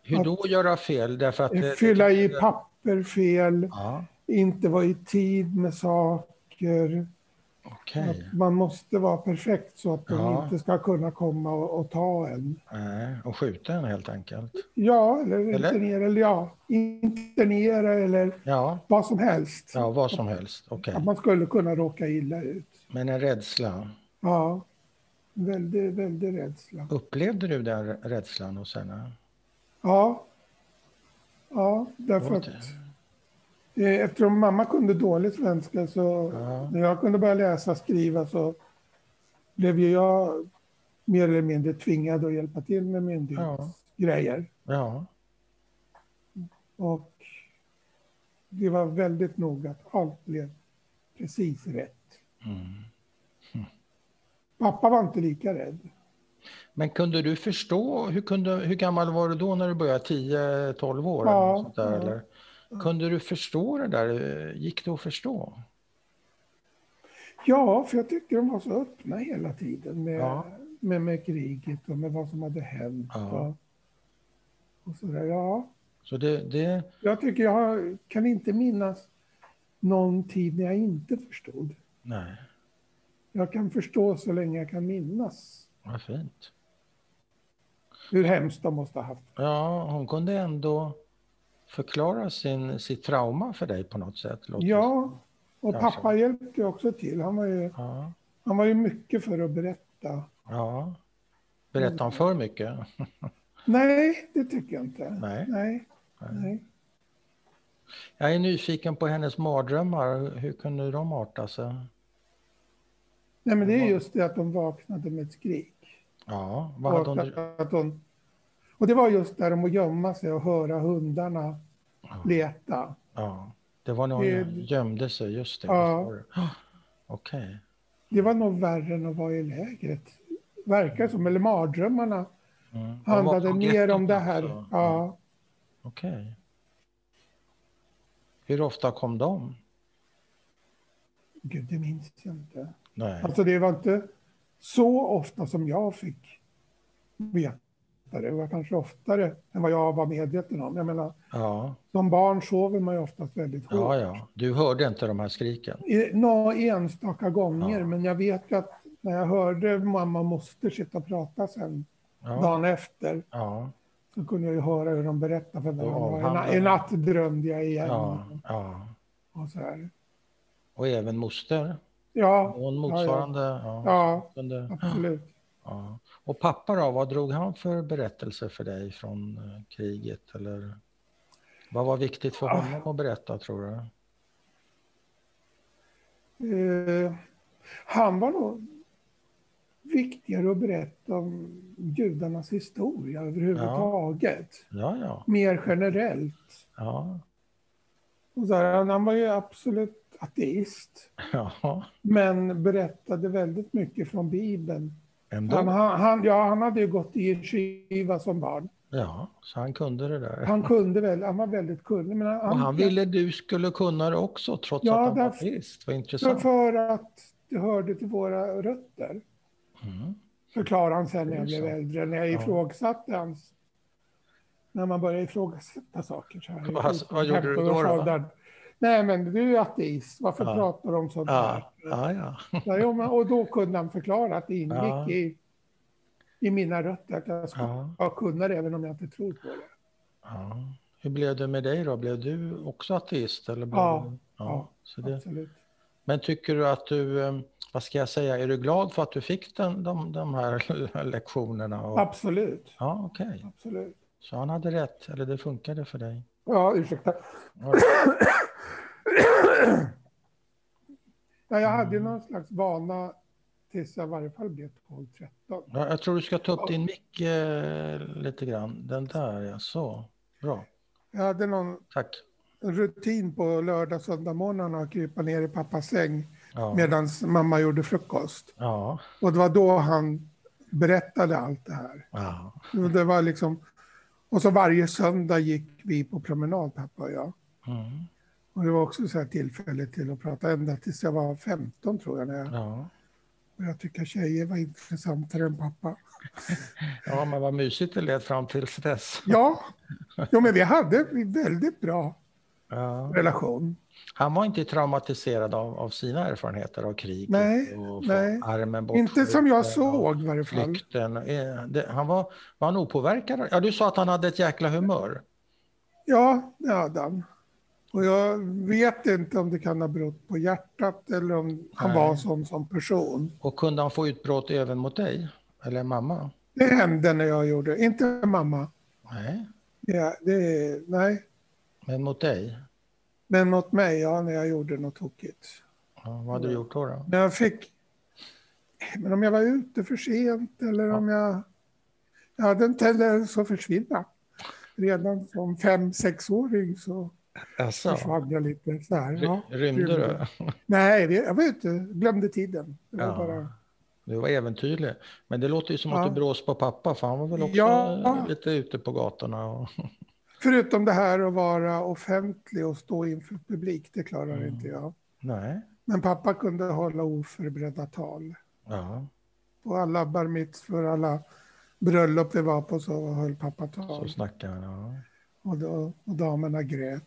Speaker 1: Hur då göra fel? Därför att det,
Speaker 2: fylla i papper fel,
Speaker 1: Ja,
Speaker 2: inte vara i tid med saker.
Speaker 1: okej.
Speaker 2: Att man måste vara perfekt så att de
Speaker 1: Ja.
Speaker 2: inte ska kunna komma och, och ta en.
Speaker 1: Nej, Eh, och skjuta en helt enkelt.
Speaker 2: Ja, eller,
Speaker 1: Eller?
Speaker 2: internera, eller ja, internera eller
Speaker 1: Ja,
Speaker 2: vad som helst.
Speaker 1: ja vad som helst. Okej.
Speaker 2: Att man skulle kunna råka illa ut.
Speaker 1: Men en rädsla.
Speaker 2: Ja, väldigt, väldigt rädsla.
Speaker 1: Upplevde du den rä- rädslan hos henne?
Speaker 2: Ja, ja därför att
Speaker 1: Okej.
Speaker 2: eh, eftersom mamma kunde dålig svenska så
Speaker 1: Ja.
Speaker 2: när jag kunde börja läsa och skriva så blev ju jag mer eller mindre tvingad att hjälpa till med myndighetsgrejer.
Speaker 1: Ja,
Speaker 2: Och det var väldigt noga att allt blev precis rätt.
Speaker 1: Mm. (laughs)
Speaker 2: Pappa var inte lika rädd.
Speaker 1: Men kunde du förstå, hur, kunde, hur gammal var du då när du började? 10-12 år?
Speaker 2: Ja, Mm.
Speaker 1: eller något sånt där,
Speaker 2: ja.
Speaker 1: eller? Kunde du förstå det där? Gick det att förstå?
Speaker 2: Ja, för jag tyckte de var så öppna hela tiden med,
Speaker 1: Ja.
Speaker 2: med, med kriget och med vad som hade hänt.
Speaker 1: Ja.
Speaker 2: Och, och sådär. Ja,
Speaker 1: Så det, det,
Speaker 2: jag tycker jag kan inte minnas någon tid när jag inte förstod.
Speaker 1: nej,
Speaker 2: Jag kan förstå så länge jag kan minnas
Speaker 1: vad fint.
Speaker 2: hur hemskt de måste ha haft.
Speaker 1: Ja, hon kunde ändå förklara sin, sitt trauma för dig på något sätt. låter det som.
Speaker 2: Ja, och
Speaker 1: Kanske.
Speaker 2: pappa hjälpte ju också till. Han var ju,
Speaker 1: Ja,
Speaker 2: han var ju mycket för att berätta.
Speaker 1: ja. Berättar han för mycket?
Speaker 2: Nej, det tycker jag inte.
Speaker 1: Nej.
Speaker 2: Nej.
Speaker 1: Nej.
Speaker 2: Nej.
Speaker 1: Jag är nyfiken på hennes mardrömmar. Hur kunde de arta sig?
Speaker 2: Nej, men det är just det att de vaknade med ett skrik.
Speaker 1: Ja, vad hade
Speaker 2: Och,
Speaker 1: hon...
Speaker 2: att, att hon, och det var just där om att gömma sig och höra hundarna leta.
Speaker 1: Ja, det var när hon
Speaker 2: Det-
Speaker 1: gömde sig, just det.
Speaker 2: Ja.
Speaker 1: Vad sa du? Okej.
Speaker 2: Det var nog värre än att vara i lägret. Verkar som, eller mardrömmarna
Speaker 1: Mm. Hon var
Speaker 2: handlade
Speaker 1: på
Speaker 2: mer
Speaker 1: gettot
Speaker 2: om det här.
Speaker 1: också.
Speaker 2: Ja,
Speaker 1: Okej. Hur ofta kom de?
Speaker 2: gud det minns jag inte.
Speaker 1: Nej.
Speaker 2: Alltså det var inte så ofta som jag fick veta det. Det var kanske oftare än vad jag var medveten om. Jag menar,
Speaker 1: Ja,
Speaker 2: som barn sover man ju oftast väldigt hårt.
Speaker 1: ja, ja. Du hörde inte de här skriken?
Speaker 2: I- Några enstaka gånger,
Speaker 1: Ja.
Speaker 2: men jag vet ju att när jag hörde mamma och moster sitta och prata sen
Speaker 1: Ja.
Speaker 2: dagen efter
Speaker 1: Ja.
Speaker 2: så kunde jag ju höra hur de berättade för
Speaker 1: Och
Speaker 2: varandra. En,
Speaker 1: avhandlade.
Speaker 2: na- en natt drömde jag igen.
Speaker 1: ja, ja.
Speaker 2: Och så här.
Speaker 1: Och även moster?
Speaker 2: Ja,
Speaker 1: Hon motsvarande? Ja.
Speaker 2: ja,
Speaker 1: Kunde-
Speaker 2: absolut.
Speaker 1: ja. Och pappa då? Vad drog han för berättelser för dig från eh, kriget? Eller vad var viktigt för
Speaker 2: Ah.
Speaker 1: honom att berätta tror du?
Speaker 2: Eh, han var nog viktigare att berätta om judarnas historia överhuvudtaget.
Speaker 1: Ja, ja.
Speaker 2: Mer generellt.
Speaker 1: Ja, (laughs)
Speaker 2: Och så här, han var ju absolut ateist.
Speaker 1: ja.
Speaker 2: men berättade väldigt mycket från Bibeln.
Speaker 1: ändå.
Speaker 2: Han, han, han, ja, han hade ju gått i yeshiva som barn.
Speaker 1: Ja, så han kunde det där.
Speaker 2: Han kunde väl, han var väldigt kunnig. Men han,
Speaker 1: och han ville du skulle kunna det också trots
Speaker 2: Ja,
Speaker 1: att han var
Speaker 2: därför-
Speaker 1: ateist. Vad
Speaker 2: för,
Speaker 1: intressant.
Speaker 2: för att det hörde till våra rötter,
Speaker 1: Mm.
Speaker 2: förklarade han sen när jag
Speaker 1: Det är
Speaker 2: blev
Speaker 1: så.
Speaker 2: äldre, när jag
Speaker 1: Ja.
Speaker 2: ifrågasatte hans... När man började ifrågasätta saker så här.
Speaker 1: Vad- vad gjorde du då, då?
Speaker 2: 15-årsåldern. Nej, men du är ju ateist. Varför
Speaker 1: Ja.
Speaker 2: pratar du om sånt här?
Speaker 1: Ja, ja, ja.
Speaker 2: Ja, jo, men- och då kunde han förklara att det ingick
Speaker 1: Ja.
Speaker 2: i, i mina rötter, att jag skulle
Speaker 1: Ja,
Speaker 2: kunna det även om jag inte tror på det.
Speaker 1: ja. Hur blev det med dig då? Blev du också ateist? Eller blev
Speaker 2: Ja,
Speaker 1: du...
Speaker 2: ja.
Speaker 1: Så det...
Speaker 2: Absolut.
Speaker 1: Men tycker du att du, eh, vad ska jag säga, är du glad för att du fick den, de, de här (laughs) lektionerna? Och...
Speaker 2: Absolut.
Speaker 1: Ja, okej.
Speaker 2: Absolut.
Speaker 1: Så han hade rätt, eller det funkade för dig?
Speaker 2: Ja, ursäkta.
Speaker 1: Ja, det-
Speaker 2: Ja, jag hade ju någon slags vana tills jag i varje fall blev 12-13.
Speaker 1: Ja, jag tror du ska ta upp din mick eh, lite grann. Den där, ja. Så. Bra.
Speaker 2: Jag hade någon
Speaker 1: Tack.
Speaker 2: rutin på lördag, söndag morgonen att krypa ner i pappas säng
Speaker 1: Ja.
Speaker 2: medan mamma gjorde frukost.
Speaker 1: Ja.
Speaker 2: Och det var då han berättade allt det här.
Speaker 1: ja.
Speaker 2: Det var liksom, och så varje söndag gick vi på promenad, pappa och jag.
Speaker 1: Mm.
Speaker 2: Och det var också så här tillfälle till att prata ända tills jag var 15 tror jag. När jag,
Speaker 1: ja.
Speaker 2: och jag tycker tjejer var intressantare än pappa.
Speaker 1: Ja, men vad mysigt det lät fram till dess.
Speaker 2: Ja, jo, men vi hade en väldigt bra
Speaker 1: Ja.
Speaker 2: relation.
Speaker 1: Han var inte traumatiserad av, av sina erfarenheter av kriget
Speaker 2: Nej,
Speaker 1: och
Speaker 2: nej.
Speaker 1: få armen bort.
Speaker 2: Inte som jag
Speaker 1: och
Speaker 2: såg i varje fall.
Speaker 1: Flykten. Eh, det- Han var, var han opåverkad? Ja, du sa att han hade ett jäkla humör.
Speaker 2: Ja, det hade han. Och jag vet inte om det kan ha berott på hjärtat eller om han
Speaker 1: Nej.
Speaker 2: var sån som person.
Speaker 1: Och kunde han få utbrott även mot dig? Eller mamma?
Speaker 2: Det hände när jag gjorde, inte mamma.
Speaker 1: Nej,
Speaker 2: Det, det, nej,
Speaker 1: men mot dig?
Speaker 2: men mot mig, ja, när jag gjorde något tokigt.
Speaker 1: Ja, vad hade du gjort då? då?
Speaker 2: När jag fick... Men om jag var ute för sent eller om jag... Jag hade en tendens att försvinna. Redan som fem, sexåring så
Speaker 1: Alltså,
Speaker 2: försvann jag lite. Så här, ja.
Speaker 1: rymde du?
Speaker 2: Nej, det- jag var ute. Glömde tiden. Det var
Speaker 1: Ja,
Speaker 2: bara...
Speaker 1: Du var äventyrlig. Men det låter ju som att
Speaker 2: Ja.
Speaker 1: du brås på pappa, för han var väl också
Speaker 2: Ja.
Speaker 1: lite ute på gatorna. Och...
Speaker 2: Förutom det här att vara offentlig och stå inför publik, det klarar
Speaker 1: Mm.
Speaker 2: inte jag.
Speaker 1: Nej.
Speaker 2: Men pappa kunde hålla oförberedda tal.
Speaker 1: Ja,
Speaker 2: På alla bar mitzvor, alla bröllop vi var på så höll pappa
Speaker 1: så
Speaker 2: tal.
Speaker 1: snackar han. Ja.
Speaker 2: Och, då, och damerna grät.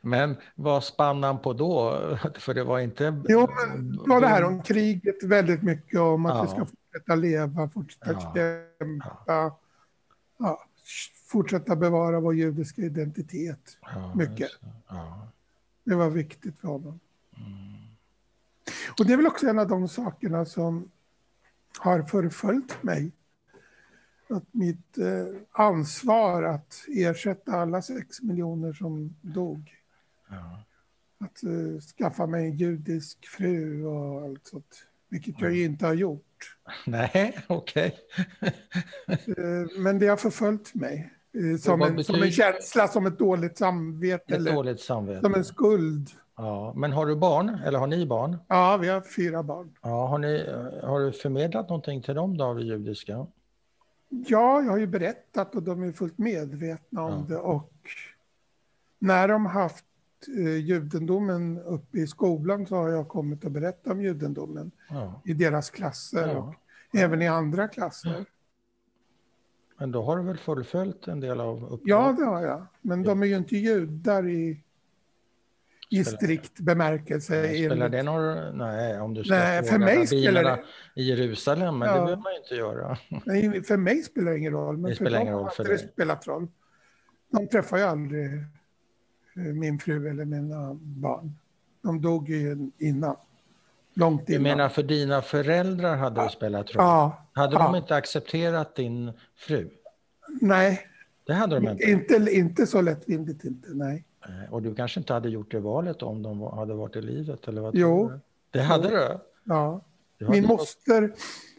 Speaker 1: Men vad spann han på då? (laughs) För det var inte...
Speaker 2: Jo, men det var det här om kriget väldigt mycket, om att
Speaker 1: Eh, Ja.
Speaker 2: vi ska fortsätta leva, fortsätta
Speaker 1: Ja.
Speaker 2: kämpa. Ja, fortsätta bevara vår judiska identitet.
Speaker 1: Ja,
Speaker 2: Mycket.
Speaker 1: just det. Ja.
Speaker 2: Det var viktigt för honom.
Speaker 1: Mm.
Speaker 2: Och det är väl också en av de sakerna som har förföljt mig. Att mitt eh, ansvar att ersätta alla sex miljoner som dog.
Speaker 1: Ja.
Speaker 2: Att eh, skaffa mig en judisk fru och allt sånt. Vilket jag ju
Speaker 1: Mm.
Speaker 2: inte har gjort.
Speaker 1: Nej, (laughs) okej.
Speaker 2: Eh, men det har förföljt mig. Eh, som,
Speaker 1: vad
Speaker 2: en, som
Speaker 1: betyder-
Speaker 2: en känsla, som ett dåligt samvete.
Speaker 1: Ett
Speaker 2: Eller
Speaker 1: dåligt samvete.
Speaker 2: som en skuld.
Speaker 1: Ja. Men har du barn? Eller har ni barn?
Speaker 2: Ja, vi har fyra barn.
Speaker 1: Ja, har, ni, eh, har du förmedlat någonting till dem då av det judiska?
Speaker 2: Ja, jag har ju berättat och de är fullt medvetna om
Speaker 1: Ja.
Speaker 2: det. Och när de haft eh, judendomen uppe i skolan så har jag kommit och berättat om judendomen
Speaker 1: Ja.
Speaker 2: i deras klasser
Speaker 1: Ja.
Speaker 2: och även i andra klasser.
Speaker 1: Men då har du väl fullföljt en del av uppdraget?
Speaker 2: Ja, det har jag. Men de är ju inte judar i, i strikt bemärkelse.
Speaker 1: Nej, Spelar
Speaker 2: enligt-
Speaker 1: det någon Nej, om du ska
Speaker 2: Nej, för
Speaker 1: fråga
Speaker 2: mig
Speaker 1: rabbinerna
Speaker 2: spelar det-
Speaker 1: i Jerusalem, men det
Speaker 2: Ja.
Speaker 1: behöver man ju inte göra.
Speaker 2: Nej, för mig spelar det ingen roll. Men
Speaker 1: Det
Speaker 2: för
Speaker 1: spelar
Speaker 2: dem
Speaker 1: ingen roll
Speaker 2: har
Speaker 1: för
Speaker 2: inte det
Speaker 1: dig.
Speaker 2: spelat roll. De träffar ju aldrig eh, min fru eller mina barn. De dog ju innan. Långt
Speaker 1: Du
Speaker 2: innan.
Speaker 1: menar för dina föräldrar hade det spelat roll?
Speaker 2: Ja.
Speaker 1: Hade
Speaker 2: ja.
Speaker 1: de inte accepterat din fru?
Speaker 2: Nej,
Speaker 1: Det hade de inte.
Speaker 2: inte, inte så lättvindigt inte. Nej.
Speaker 1: Nej, Och du kanske inte hade gjort det valet om de var- hade varit i livet? Eller vad
Speaker 2: Jo.
Speaker 1: tror du? Det hade du?
Speaker 2: Ja.
Speaker 1: du hade
Speaker 2: Min
Speaker 1: fått-
Speaker 2: moster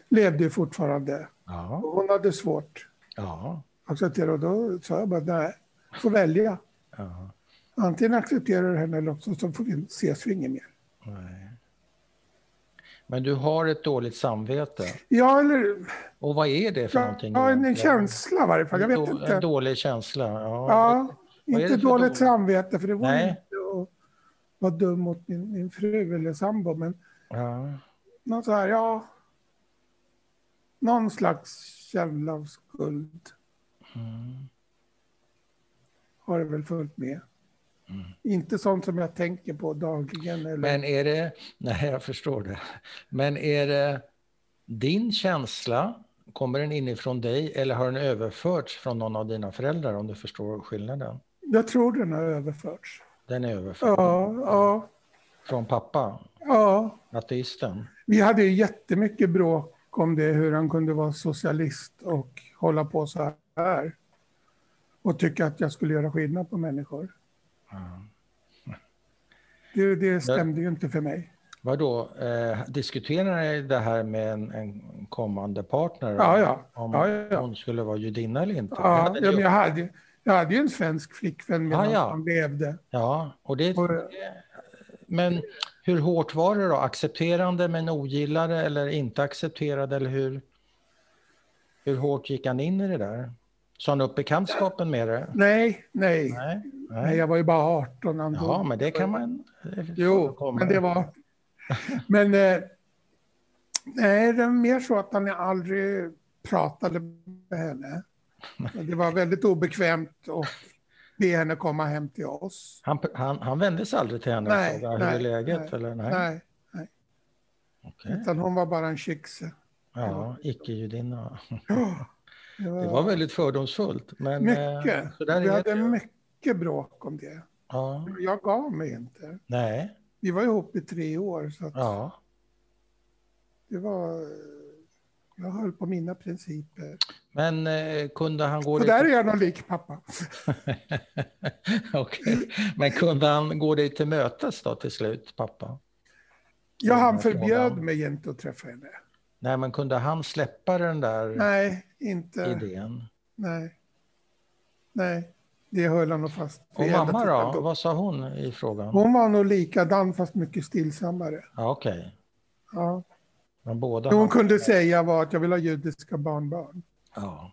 Speaker 2: levde ju fortfarande.
Speaker 1: Ja,
Speaker 2: Hon hade svårt
Speaker 1: ja,
Speaker 2: att acceptera. Och då sa jag bara nej, får välja.
Speaker 1: ja.
Speaker 2: Antingen accepterar du henne eller också så får vi ses för inget mer.
Speaker 1: Nej. Men du har ett dåligt samvete.
Speaker 2: Ja, eller
Speaker 1: Och vad är det för någonting?
Speaker 2: ja, en
Speaker 1: egentligen?
Speaker 2: känsla i varje fall. Jag
Speaker 1: En
Speaker 2: vet
Speaker 1: då-
Speaker 2: inte.
Speaker 1: En dålig känsla. Ja,
Speaker 2: Ja,
Speaker 1: Vad är
Speaker 2: inte
Speaker 1: det för
Speaker 2: dåligt
Speaker 1: dåligt?
Speaker 2: samvete för det var
Speaker 1: Nej.
Speaker 2: inte att vara dum mot min, min fru eller sambo. Men
Speaker 1: ja.
Speaker 2: någon så här, ja. Någon slags känsla av skuld
Speaker 1: Mm.
Speaker 2: har det väl följt med. Inte sånt som jag tänker på dagligen. Eller,
Speaker 1: Mm. Men är det... Nej, jag förstår det. Men är det din känsla? Kommer den inifrån dig eller har den överförts från någon av dina föräldrar om du förstår skillnaden?
Speaker 2: Jag tror den har överförts.
Speaker 1: Den är överförd
Speaker 2: Ja, ja,
Speaker 1: från pappa,
Speaker 2: ja.
Speaker 1: ateisten.
Speaker 2: Vi hade ju jättemycket bråk om det, hur han kunde vara socialist och hålla på så här. Och tycka att jag skulle göra skillnad på människor.
Speaker 1: Ja.
Speaker 2: Det, det stämde ju inte för mig.
Speaker 1: Vadå, eh, diskuterar ni det här med en, en kommande partner?
Speaker 2: Ja, ja.
Speaker 1: Om
Speaker 2: Ja, ja, ja.
Speaker 1: hon skulle vara judinna eller inte? Det
Speaker 2: Ja,
Speaker 1: hade ni
Speaker 2: ja, men
Speaker 1: ju-
Speaker 2: jag, hade, jag hade ju en svensk flickvän medan
Speaker 1: Ah, ja.
Speaker 2: han levde.
Speaker 1: Ja, och det...
Speaker 2: Och-
Speaker 1: Men hur hårt var det då? Accepterande men ogillade eller inte accepterade? Eller hur, hur hårt gick han in i det där? Sa han upp bekantskapen med det?
Speaker 2: Nej, nej, nej.
Speaker 1: Nej. nej.
Speaker 2: jag var ju bara 18 när han
Speaker 1: Ja,
Speaker 2: dog.
Speaker 1: men det kan man... det
Speaker 2: Jo,
Speaker 1: förekommer.
Speaker 2: men det var... Men eh, nej, det var mer så att han aldrig pratade med henne. Det var väldigt obekvämt att be henne komma hem till oss.
Speaker 1: Han, han, han vände sig aldrig till henne
Speaker 2: Nej,
Speaker 1: och frågade hur är
Speaker 2: nej,
Speaker 1: läget?
Speaker 2: nej,
Speaker 1: eller? Nej.
Speaker 2: Nej,
Speaker 1: Okej.
Speaker 2: utan hon var bara en kyxe.
Speaker 1: Ja, icke-judinna.
Speaker 2: Ja, det
Speaker 1: Det var väldigt fördomsfullt. Men, eh,
Speaker 2: mycket.
Speaker 1: Så där
Speaker 2: Vi
Speaker 1: är
Speaker 2: hade
Speaker 1: det. ju.
Speaker 2: mycket bråk om det.
Speaker 1: Ja,
Speaker 2: Jag gav mig inte.
Speaker 1: nej,
Speaker 2: Vi var ihop i tre år, så att
Speaker 1: ja.
Speaker 2: det var... Jag höll på mina principer.
Speaker 1: Men eh, kunde han gå
Speaker 2: Så
Speaker 1: lite
Speaker 2: där är jag nog lik pappa.
Speaker 1: (laughs) Okej. Men kunde han gå dig till mötes då till slut, pappa?
Speaker 2: Ja,
Speaker 1: den
Speaker 2: han
Speaker 1: här Mm. frågan.
Speaker 2: förbjöd mig inte att träffa henne.
Speaker 1: Nej, men kunde han släppa den där
Speaker 2: Nej, inte.
Speaker 1: idén?
Speaker 2: Nej. Nej, det höll han nog fast
Speaker 1: Och
Speaker 2: vid hela
Speaker 1: mamma
Speaker 2: tiden
Speaker 1: då? Vad sa hon i frågan?
Speaker 2: Hon var nog likadan fast mycket stillsammare.
Speaker 1: Ja, Okej,
Speaker 2: Ja.
Speaker 1: men båda?
Speaker 2: Det hon
Speaker 1: har-
Speaker 2: kunde säga var att jag vill ha judiska barnbarn.
Speaker 1: Ja,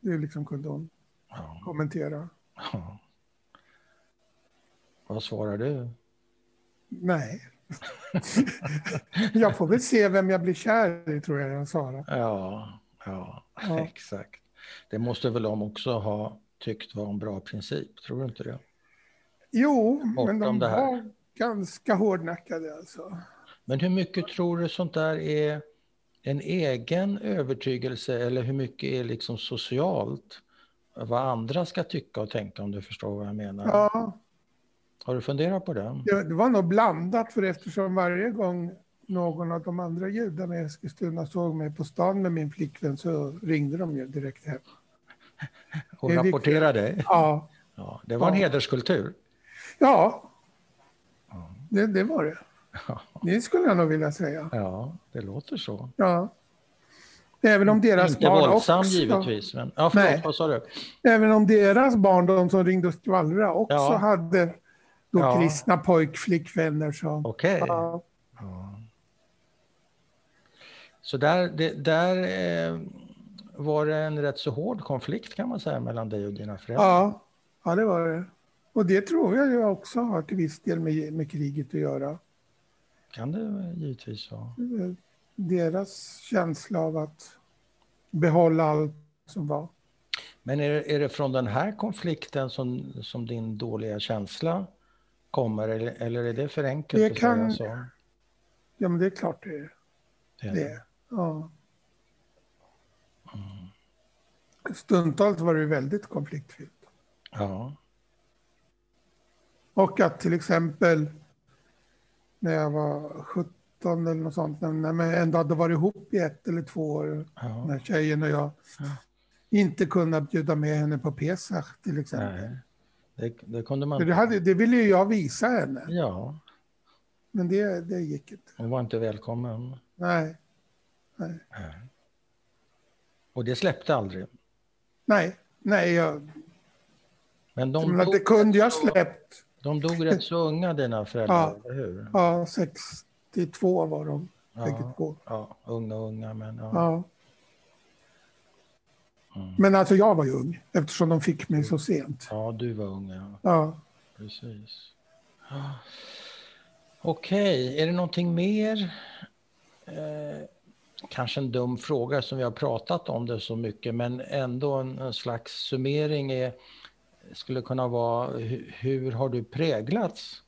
Speaker 2: Det liksom kunde hon
Speaker 1: ja,
Speaker 2: kommentera.
Speaker 1: ja. Vad svarar du?
Speaker 2: Nej. (laughs) jag får väl se vem jag blir kär i, tror jag jag svarade.
Speaker 1: Ja, ja, (laughs)
Speaker 2: Ja.
Speaker 1: exakt. Det måste väl de också ha tyckt var en bra princip, tror du inte det?
Speaker 2: Jo,
Speaker 1: Bortom
Speaker 2: men de
Speaker 1: det här.
Speaker 2: var ganska hårdnackade alltså.
Speaker 1: Men hur mycket tror du sånt där är en egen övertygelse eller hur mycket är liksom socialt? vad andra ska tycka och tänka om du förstår vad jag menar.
Speaker 2: Ja,
Speaker 1: Har du funderat på det?
Speaker 2: det, det var nog blandat för eftersom varje gång någon av de andra judarna i Eskilstuna såg mig på stan med min flickvän så ringde de ju direkt hem.
Speaker 1: Och
Speaker 2: det är
Speaker 1: rapportera dig?
Speaker 2: Ja,
Speaker 1: Ja, det var en
Speaker 2: Ja.
Speaker 1: hederskultur.
Speaker 2: ja. Det, det var det. Det skulle jag nog vilja säga.
Speaker 1: Ja, det låter så.
Speaker 2: Ja. Även om deras
Speaker 1: Inte
Speaker 2: barn
Speaker 1: våldsam
Speaker 2: också,
Speaker 1: givetvis. Men, ja, förlåt,
Speaker 2: Nej.
Speaker 1: vad sa du?
Speaker 2: Även om deras barn, de som ringde och skvallrade, också
Speaker 1: Ja.
Speaker 2: hade då
Speaker 1: Ja.
Speaker 2: kristna pojkflickvänner. Så,
Speaker 1: Okej.
Speaker 2: ja,
Speaker 1: Så där, det, där eh, var det en rätt så hård konflikt kan man säga mellan dig och dina föräldrar.
Speaker 2: ja, ja, det var det. Och det tror jag ju också har till viss del med, med kriget att göra.
Speaker 1: Kan det givetvis vara.
Speaker 2: Deras känsla av att behålla allt som var.
Speaker 1: Men är det, är det från den här konflikten som, som din dåliga känsla kommer eller, eller är det för enkelt
Speaker 2: Det
Speaker 1: att
Speaker 2: kan-
Speaker 1: säga så?
Speaker 2: Ja, men det är klart det är
Speaker 1: Det-
Speaker 2: det. Ja. Stundtals var det ju väldigt konfliktfyllt.
Speaker 1: Ja.
Speaker 2: Och att till exempel när jag var 17 eller något sånt, när när man ändå hade varit ihop i ett eller två år, den
Speaker 1: ja.
Speaker 2: här tjejen och jag, inte kunna bjuda med henne på Pesach till exempel.
Speaker 1: Nej. Det, det kunde man
Speaker 2: För Det, hade, det ville ju jag visa henne,
Speaker 1: Ja,
Speaker 2: men det, det gick inte.
Speaker 1: hon var inte välkommen.
Speaker 2: Nej,
Speaker 1: Och det släppte aldrig.
Speaker 2: nej, nej. Jag,
Speaker 1: Men
Speaker 2: jag
Speaker 1: de
Speaker 2: menar,
Speaker 1: dog,
Speaker 2: det kunde jag släppt.
Speaker 1: de dog rätt så unga dina föräldrar,
Speaker 2: Ja.
Speaker 1: eller hur?
Speaker 2: Ja, 62 var de bägge
Speaker 1: Ja,
Speaker 2: två.
Speaker 1: ja, unga, unga, men ja.
Speaker 2: Ja.
Speaker 1: Mm.
Speaker 2: Men alltså jag var ju ung eftersom de fick mig så sent.
Speaker 1: Ja, du var ung, ja.
Speaker 2: Ja.
Speaker 1: Precis. Ja. Okej, är det någonting mer? Eh, kanske en dum fråga som vi har pratat om det så mycket, men ändå en, en slags summering är, skulle kunna vara hu, hur har du präglats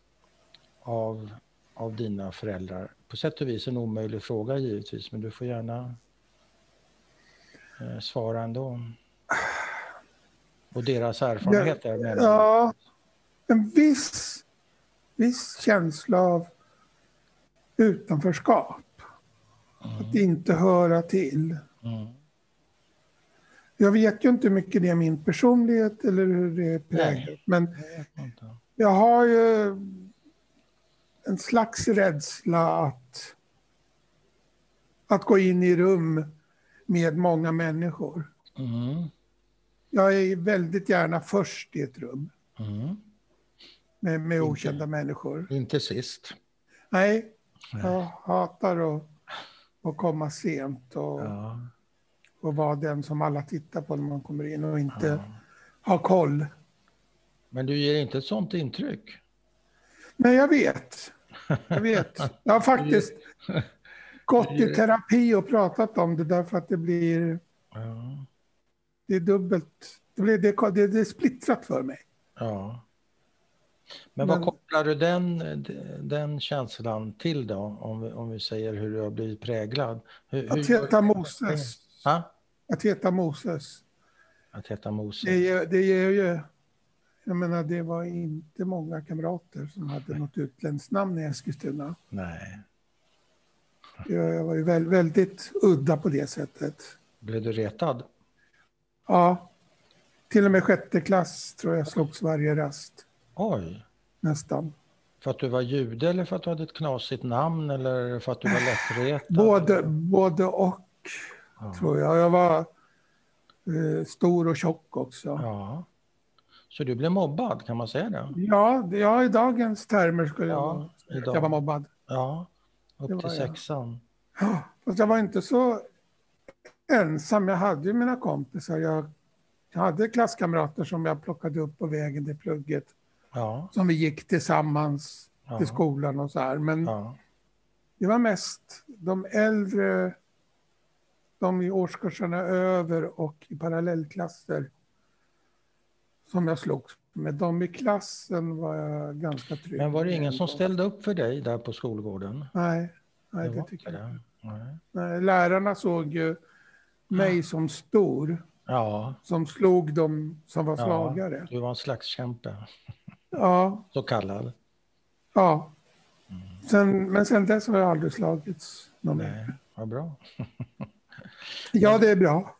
Speaker 1: av, av dina föräldrar? På sätt och vis en omöjlig fråga givetvis, men du får gärna eh, svara ändå. Och deras erfarenheter menar jag.
Speaker 2: Ja, en viss, viss känsla av utanförskap. Att inte höra till.
Speaker 1: Mm.
Speaker 2: Jag vet ju inte hur mycket det är min personlighet eller hur det är präglat. Men
Speaker 1: Jag vet inte.
Speaker 2: jag har ju en slags rädsla att, att gå in i rum med många människor.
Speaker 1: Mm.
Speaker 2: Jag är väldigt gärna först i ett rum
Speaker 1: Mm.
Speaker 2: med, med okända människor.
Speaker 1: Inte sist.
Speaker 2: Nej,
Speaker 1: Nej.
Speaker 2: jag hatar att, att komma sent och,
Speaker 1: Ja.
Speaker 2: och vara den som alla tittar på när man kommer in och inte ha koll.
Speaker 1: Men du ger inte ett sånt intryck.
Speaker 2: Nej, jag vet. Jag vet. Jag
Speaker 1: (laughs)
Speaker 2: har faktiskt gått i terapi och pratat om det därför att det blir,
Speaker 1: Ja.
Speaker 2: det är dubbelt, det, blir, det, det, det är splittrat för mig.
Speaker 1: ja. Men
Speaker 2: Men-
Speaker 1: vad kopplar du den, den känslan till då? Om vi, om vi säger hur du har blivit präglad. Hur,
Speaker 2: Att
Speaker 1: hur,
Speaker 2: heta Moses,
Speaker 1: ha?
Speaker 2: att heta Moses,
Speaker 1: Att heta
Speaker 2: det,
Speaker 1: Moses.
Speaker 2: ger- det ger ju, jag menar det var inte många kamrater som hade något utländskt namn i Eskilstuna.
Speaker 1: Nej.
Speaker 2: Jag jag var ju väl, väldigt udda på det sättet.
Speaker 1: Blev du retad?
Speaker 2: Ja, till och med sjätte klass tror jag slogs varje rast
Speaker 1: Oj.
Speaker 2: nästan.
Speaker 1: För att du var jude eller för att du hade ett knasigt namn eller för att du var
Speaker 2: (laughs)
Speaker 1: lättretad?
Speaker 2: Både, både och tror jag. Jag var eh, stor och tjock också.
Speaker 1: Ja. Så du blev mobbad, kan man säga det?
Speaker 2: Ja, det- ja i dagens termer skulle jag
Speaker 1: Ja,
Speaker 2: vara.
Speaker 1: idag.
Speaker 2: Jag var mobbad.
Speaker 1: Ja,
Speaker 2: Det
Speaker 1: upp
Speaker 2: var
Speaker 1: till
Speaker 2: jag.
Speaker 1: sexan.
Speaker 2: Ja, Fast jag var inte så ensam. Jag hade ju mina kompisar. Jag hade klasskamrater som jag plockade upp på vägen till plugget.
Speaker 1: Ja,
Speaker 2: Som vi gick tillsammans
Speaker 1: ja,
Speaker 2: till skolan och så här. Men
Speaker 1: ja,
Speaker 2: Det var mest de äldre, de i årskurserna över och i parallellklasser som jag slogs med. De i klassen var jag ganska trygg
Speaker 1: Men var det
Speaker 2: med
Speaker 1: ingen
Speaker 2: ändå.
Speaker 1: som ställde upp för dig där på skolgården?
Speaker 2: Nej, nej
Speaker 1: Det
Speaker 2: det
Speaker 1: var
Speaker 2: tycker
Speaker 1: inte
Speaker 2: jag inte.
Speaker 1: det. Nej.
Speaker 2: Nej, Lärarna såg ju mig som stor
Speaker 1: Ja,
Speaker 2: som slog de som var
Speaker 1: Ja.
Speaker 2: svagare.
Speaker 1: du var en slags kämpe,
Speaker 2: Ja,
Speaker 1: så kallad.
Speaker 2: ja. Sen, men sen dess har jag aldrig slagits någon mer.
Speaker 1: Mm. Nej, vad bra.
Speaker 2: Ja, det är bra.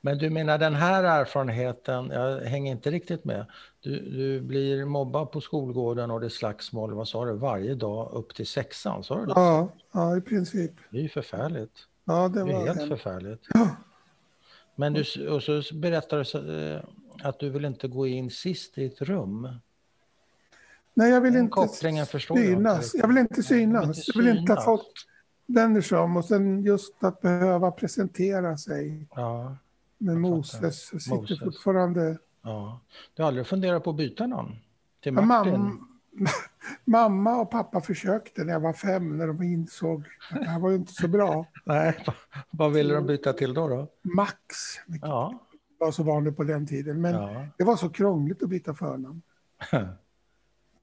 Speaker 1: Men du menar den här erfarenheten, jag hänger inte riktigt med. Du, du blir mobbad på skolgården och det är slagsmål, vad sa du, varje dag upp till sexan? Sa du det?
Speaker 2: Ja, ja i princip.
Speaker 1: Det är ju förfärligt.
Speaker 2: Ja, det
Speaker 1: Det är
Speaker 2: var
Speaker 1: helt
Speaker 2: det.
Speaker 1: förfärligt.
Speaker 2: (clears throat) Ja.
Speaker 1: Men du, och så berättar du så, eh, att du vill inte gå in sist i ett rum.
Speaker 2: Nej, jag vill
Speaker 1: Den
Speaker 2: inte
Speaker 1: kopplingen förstår jag inte
Speaker 2: synas.
Speaker 1: riktigt.
Speaker 2: Jag vill inte
Speaker 1: Du vill
Speaker 2: synas. Jag vill inte att
Speaker 1: synas.
Speaker 2: folk vänder sig om. Och sen just att behöva presentera sig.
Speaker 1: Ja,
Speaker 2: Men
Speaker 1: Jag
Speaker 2: Moses
Speaker 1: fattar.
Speaker 2: sitter
Speaker 1: Moses.
Speaker 2: fortfarande...
Speaker 1: ja. Du har aldrig funderat på att byta namn? Till
Speaker 2: Ja,
Speaker 1: Martin?
Speaker 2: mam, (laughs) mamma och pappa försökte när jag var fem, när de insåg att det här var ju inte så bra.
Speaker 1: Nej, (laughs) vad, vad ville de byta till då? då?
Speaker 2: Max, vilket
Speaker 1: Ja,
Speaker 2: var så vanligt på den tiden. Men
Speaker 1: ja.
Speaker 2: det var så krångligt att
Speaker 1: (laughs)
Speaker 2: byta förnamn.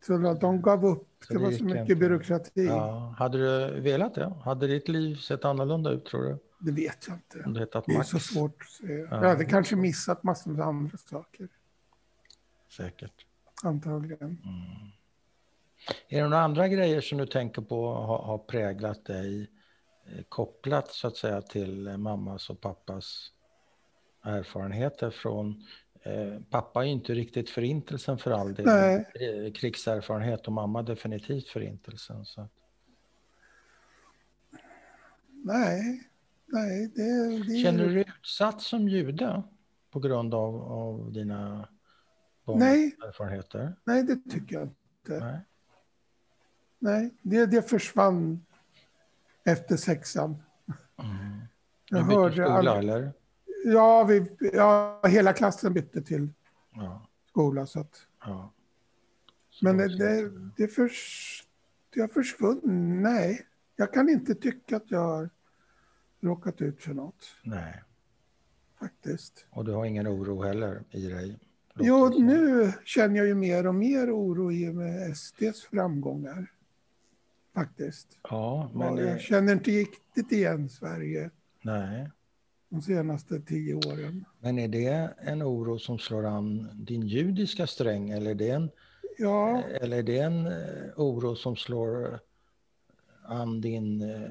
Speaker 2: Så de- de gav upp.
Speaker 1: Så
Speaker 2: Det,
Speaker 1: det
Speaker 2: var
Speaker 1: gick
Speaker 2: så mycket
Speaker 1: inte.
Speaker 2: byråkrati.
Speaker 1: ja. Hade du velat det? Hade ditt liv sett annorlunda ut tror du?
Speaker 2: Det vet jag inte.
Speaker 1: Om du hetat
Speaker 2: Det är
Speaker 1: Max?
Speaker 2: så svårt att säga.
Speaker 1: Ja.
Speaker 2: Jag hade kanske missat massor med andra saker,
Speaker 1: Säkert.
Speaker 2: antagligen.
Speaker 1: Är det några andra grejer som du tänker på har, har präglat dig eh, kopplat så att säga till eh, mammas och pappas erfarenheter från eh, pappa är ju inte riktigt förintelsen för all del.
Speaker 2: Nej.
Speaker 1: Eh, Krigserfarenhet och mamma definitivt förintelsen. Så. att-
Speaker 2: Nej, nej. Det, det,
Speaker 1: Känner du dig utsatt som jude på grund av, av dina barns
Speaker 2: Nej.
Speaker 1: erfarenheter?
Speaker 2: Nej, det tycker jag inte.
Speaker 1: Nej.
Speaker 2: Nej, det, det försvann efter sexan.
Speaker 1: Mm. Du
Speaker 2: Jag
Speaker 1: bytte
Speaker 2: hörde
Speaker 1: skola
Speaker 2: aldrig-
Speaker 1: eller?
Speaker 2: Ja, vi, ja, hela klassen bytte till
Speaker 1: Ja,
Speaker 2: skola. Så att,
Speaker 1: ja. Så
Speaker 2: men
Speaker 1: då
Speaker 2: det,
Speaker 1: så-
Speaker 2: det, det, förs, det har försvunnit. Nej, jag kan inte tycka att jag har råkat ut för något,
Speaker 1: Nej,
Speaker 2: faktiskt.
Speaker 1: och du har ingen oro heller i dig? låter
Speaker 2: Jo,
Speaker 1: det som.
Speaker 2: nu känner jag ju mer och mer oro i och med SDs framgångar. Faktiskt.
Speaker 1: Ja, men eh,
Speaker 2: Och
Speaker 1: det,
Speaker 2: jag känner inte riktigt igen Sverige
Speaker 1: nej.
Speaker 2: de senaste tio åren.
Speaker 1: Men är det en oro som slår an din judiska sträng eller är det en,
Speaker 2: Ja,
Speaker 1: eller är det en eh, oro som slår an din eh,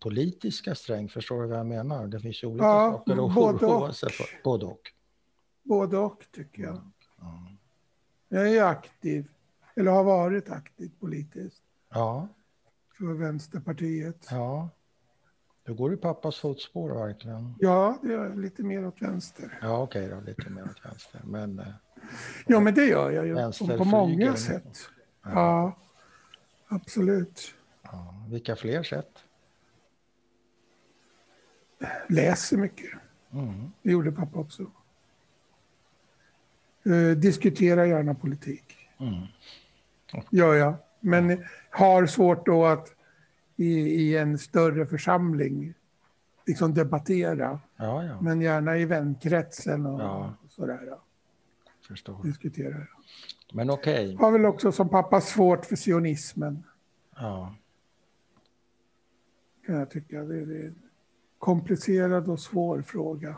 Speaker 1: politiska sträng? Förstår du vad jag menar? Det finns ju olika
Speaker 2: Ja,
Speaker 1: saker att
Speaker 2: både
Speaker 1: oroa sig
Speaker 2: och.
Speaker 1: för. Både och.
Speaker 2: både och tycker jag.
Speaker 1: Ja.
Speaker 2: Jag är ju aktiv, eller har varit aktiv politiskt
Speaker 1: Ja,
Speaker 2: för Vänsterpartiet.
Speaker 1: ja. Du går i pappas fotspår verkligen.
Speaker 2: Ja, det gör jag lite mer åt vänster.
Speaker 1: Ja, okej då, lite mer åt vänster. Men eh,
Speaker 2: Ja, men det gör jag ju
Speaker 1: Vänster
Speaker 2: på många
Speaker 1: flyger.
Speaker 2: sätt. Ja, absolut.
Speaker 1: ja, vilka fler sätt?
Speaker 2: Läser mycket.
Speaker 1: Mm.
Speaker 2: Det gjorde pappa också. Eh, diskutera gärna politik.
Speaker 1: Mm.
Speaker 2: Gör jag. Men har svårt då att i, i en större församling liksom debattera.
Speaker 1: Ja, ja,
Speaker 2: Men gärna i vänkretsen och
Speaker 1: Ja.
Speaker 2: sådär. Ja,
Speaker 1: förstår.
Speaker 2: diskutera.
Speaker 1: Men okej.
Speaker 2: Har väl också som pappa svårt för sionismen.
Speaker 1: Ja,
Speaker 2: Kan jag tycka. Det, det är en komplicerad och svår fråga.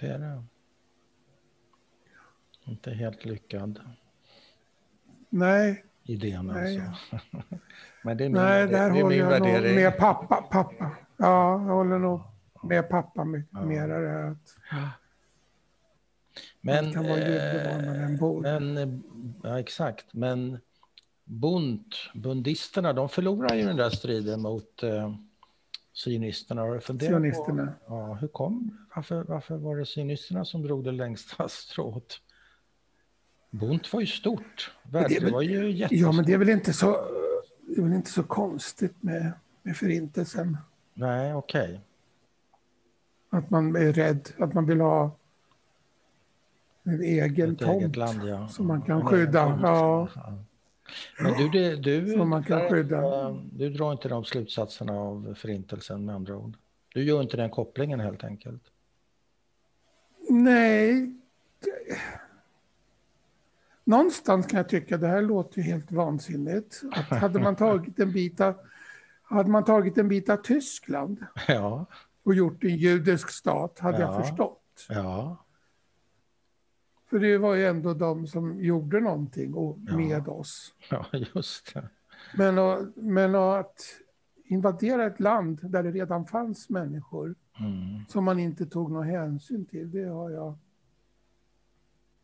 Speaker 1: det är det. Inte helt lyckad
Speaker 2: Nej,
Speaker 1: idén
Speaker 2: Nej.
Speaker 1: alltså. (laughs) Men det är min,
Speaker 2: nej
Speaker 1: värde-
Speaker 2: där
Speaker 1: det är
Speaker 2: håller
Speaker 1: min
Speaker 2: jag nog
Speaker 1: värdering.
Speaker 2: med pappa. pappa. Ja, jag håller nog med pappa mycket
Speaker 1: Ja.
Speaker 2: mera. Det här att
Speaker 1: Men,
Speaker 2: Det kan vara jude var man
Speaker 1: eh,
Speaker 2: än bor.
Speaker 1: men, eh, ja, exakt. Men Bund, bundisterna, de förlorar ju den där striden mot eh, sionisterna. Har du funderat på
Speaker 2: Sionisterna.
Speaker 1: ja, hur kom, varför, varför var det sionisterna som drog det längsta (laughs) strået? Bund var ju stort.
Speaker 2: det är
Speaker 1: Världen
Speaker 2: väl-
Speaker 1: var ju jätte...
Speaker 2: Ja, men det är väl inte så, det är väl inte så konstigt med, med förintelsen.
Speaker 1: Nej, okej.
Speaker 2: Att man är rädd, att man vill ha en egen
Speaker 1: Ett
Speaker 2: tomt
Speaker 1: eget land, ja.
Speaker 2: som man kan
Speaker 1: En
Speaker 2: skydda.
Speaker 1: egen tomt.
Speaker 2: Ja.
Speaker 1: Men du, det, du,
Speaker 2: Som man kan
Speaker 1: där,
Speaker 2: skydda.
Speaker 1: eh, du drar inte de slutsatserna av förintelsen med andra ord. Du gör inte den kopplingen helt enkelt.
Speaker 2: (laughs) Nej. det- Någonstans kan jag tycka det här låter ju helt vansinnigt. Att hade man tagit en bit av, hade man tagit en bit av Tyskland
Speaker 1: Ja,
Speaker 2: och gjort en judisk stat hade jag
Speaker 1: Ja.
Speaker 2: förstått.
Speaker 1: ja,
Speaker 2: För det var ju ändå de som gjorde någonting och,
Speaker 1: Ja.
Speaker 2: med oss.
Speaker 1: Ja, just det.
Speaker 2: Men, och, men och att invadera ett land där det redan fanns människor
Speaker 1: Mm.
Speaker 2: som man inte tog någon hänsyn till, det har jag...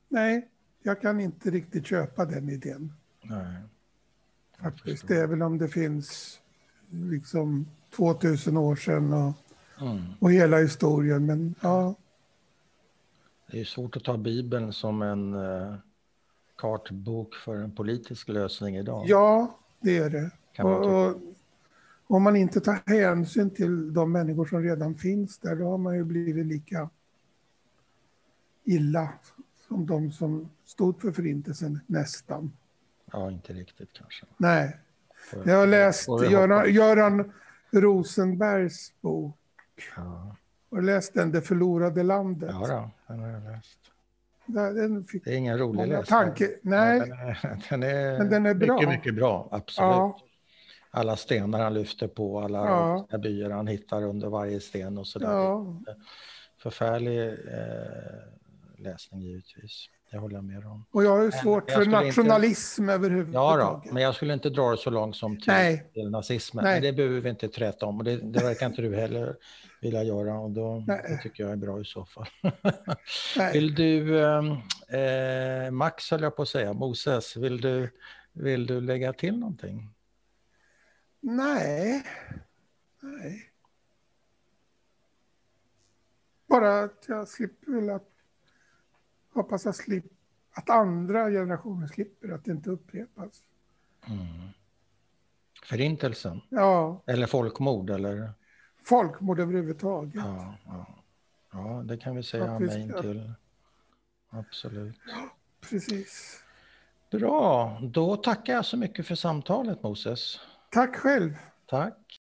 Speaker 2: Nej, jag kan inte riktigt köpa den idén.
Speaker 1: Nej.
Speaker 2: Faktiskt. Det är väl om det finns liksom 2000 år sedan och,
Speaker 1: Mm.
Speaker 2: och hela historien. Men ja,
Speaker 1: Det är ju svårt att ta Bibeln som en eh, kartbok för en politisk lösning idag.
Speaker 2: ja det är det.
Speaker 1: Kan man
Speaker 2: Och,
Speaker 1: tycka.
Speaker 2: och, om man inte tar hänsyn till de människor som redan finns där, då har man ju blivit lika illa som de som stod för förintelsen, nästan.
Speaker 1: ja, inte riktigt kanske.
Speaker 2: Nej,
Speaker 1: Får-
Speaker 2: jag har läst
Speaker 1: får vi hoppas.
Speaker 2: Göran, Göran Rosenbergs bok.
Speaker 1: Ja,
Speaker 2: Har du läst den, Det förlorade landet?
Speaker 1: ja då, den har jag läst.
Speaker 2: Där- Den fick
Speaker 1: Det är ingen rolig
Speaker 2: många
Speaker 1: läsning.
Speaker 2: tanke... Nej,
Speaker 1: Den är, den är,
Speaker 2: Men den är bra.
Speaker 1: Mycket, mycket bra, absolut.
Speaker 2: Ja.
Speaker 1: Alla stenar han lyfter på, alla
Speaker 2: Ja.
Speaker 1: rostiga byar han hittar under varje sten och sådär.
Speaker 2: Ja,
Speaker 1: Förfärlig eh, läsning givetvis. Det håller jag med om.
Speaker 2: och jag har ju
Speaker 1: Men
Speaker 2: svårt
Speaker 1: jag
Speaker 2: för
Speaker 1: skulle
Speaker 2: nationalism överhuvudtaget.
Speaker 1: Ja då, men jag skulle inte dra det så långt som till,
Speaker 2: Nej.
Speaker 1: till nazismen.
Speaker 2: Nej.
Speaker 1: Men det behöver vi inte träta om och det, det verkar inte du heller vilja göra och då,
Speaker 2: Nej.
Speaker 1: det tycker jag är bra i så fall. (laughs)
Speaker 2: Nej,
Speaker 1: Vill du, ehm, eh, Max höll jag på att säga, Moses, vill du, vill du lägga till någonting?
Speaker 2: nej. nej. Bara att jag slipper väl att... Hoppas jag slipper... Att andra generationer slipper, att det inte upprepas.
Speaker 1: Mm. Förintelsen
Speaker 2: Ja,
Speaker 1: eller folkmord eller?
Speaker 2: folkmord överhuvudtaget.
Speaker 1: Ja, ja. ja det kan vi säga
Speaker 2: Att vi
Speaker 1: amen
Speaker 2: ska-
Speaker 1: till. Absolut.
Speaker 2: Precis.
Speaker 1: Bra, då tackar jag så mycket för samtalet Moses.
Speaker 2: Tack själv.
Speaker 1: Tack.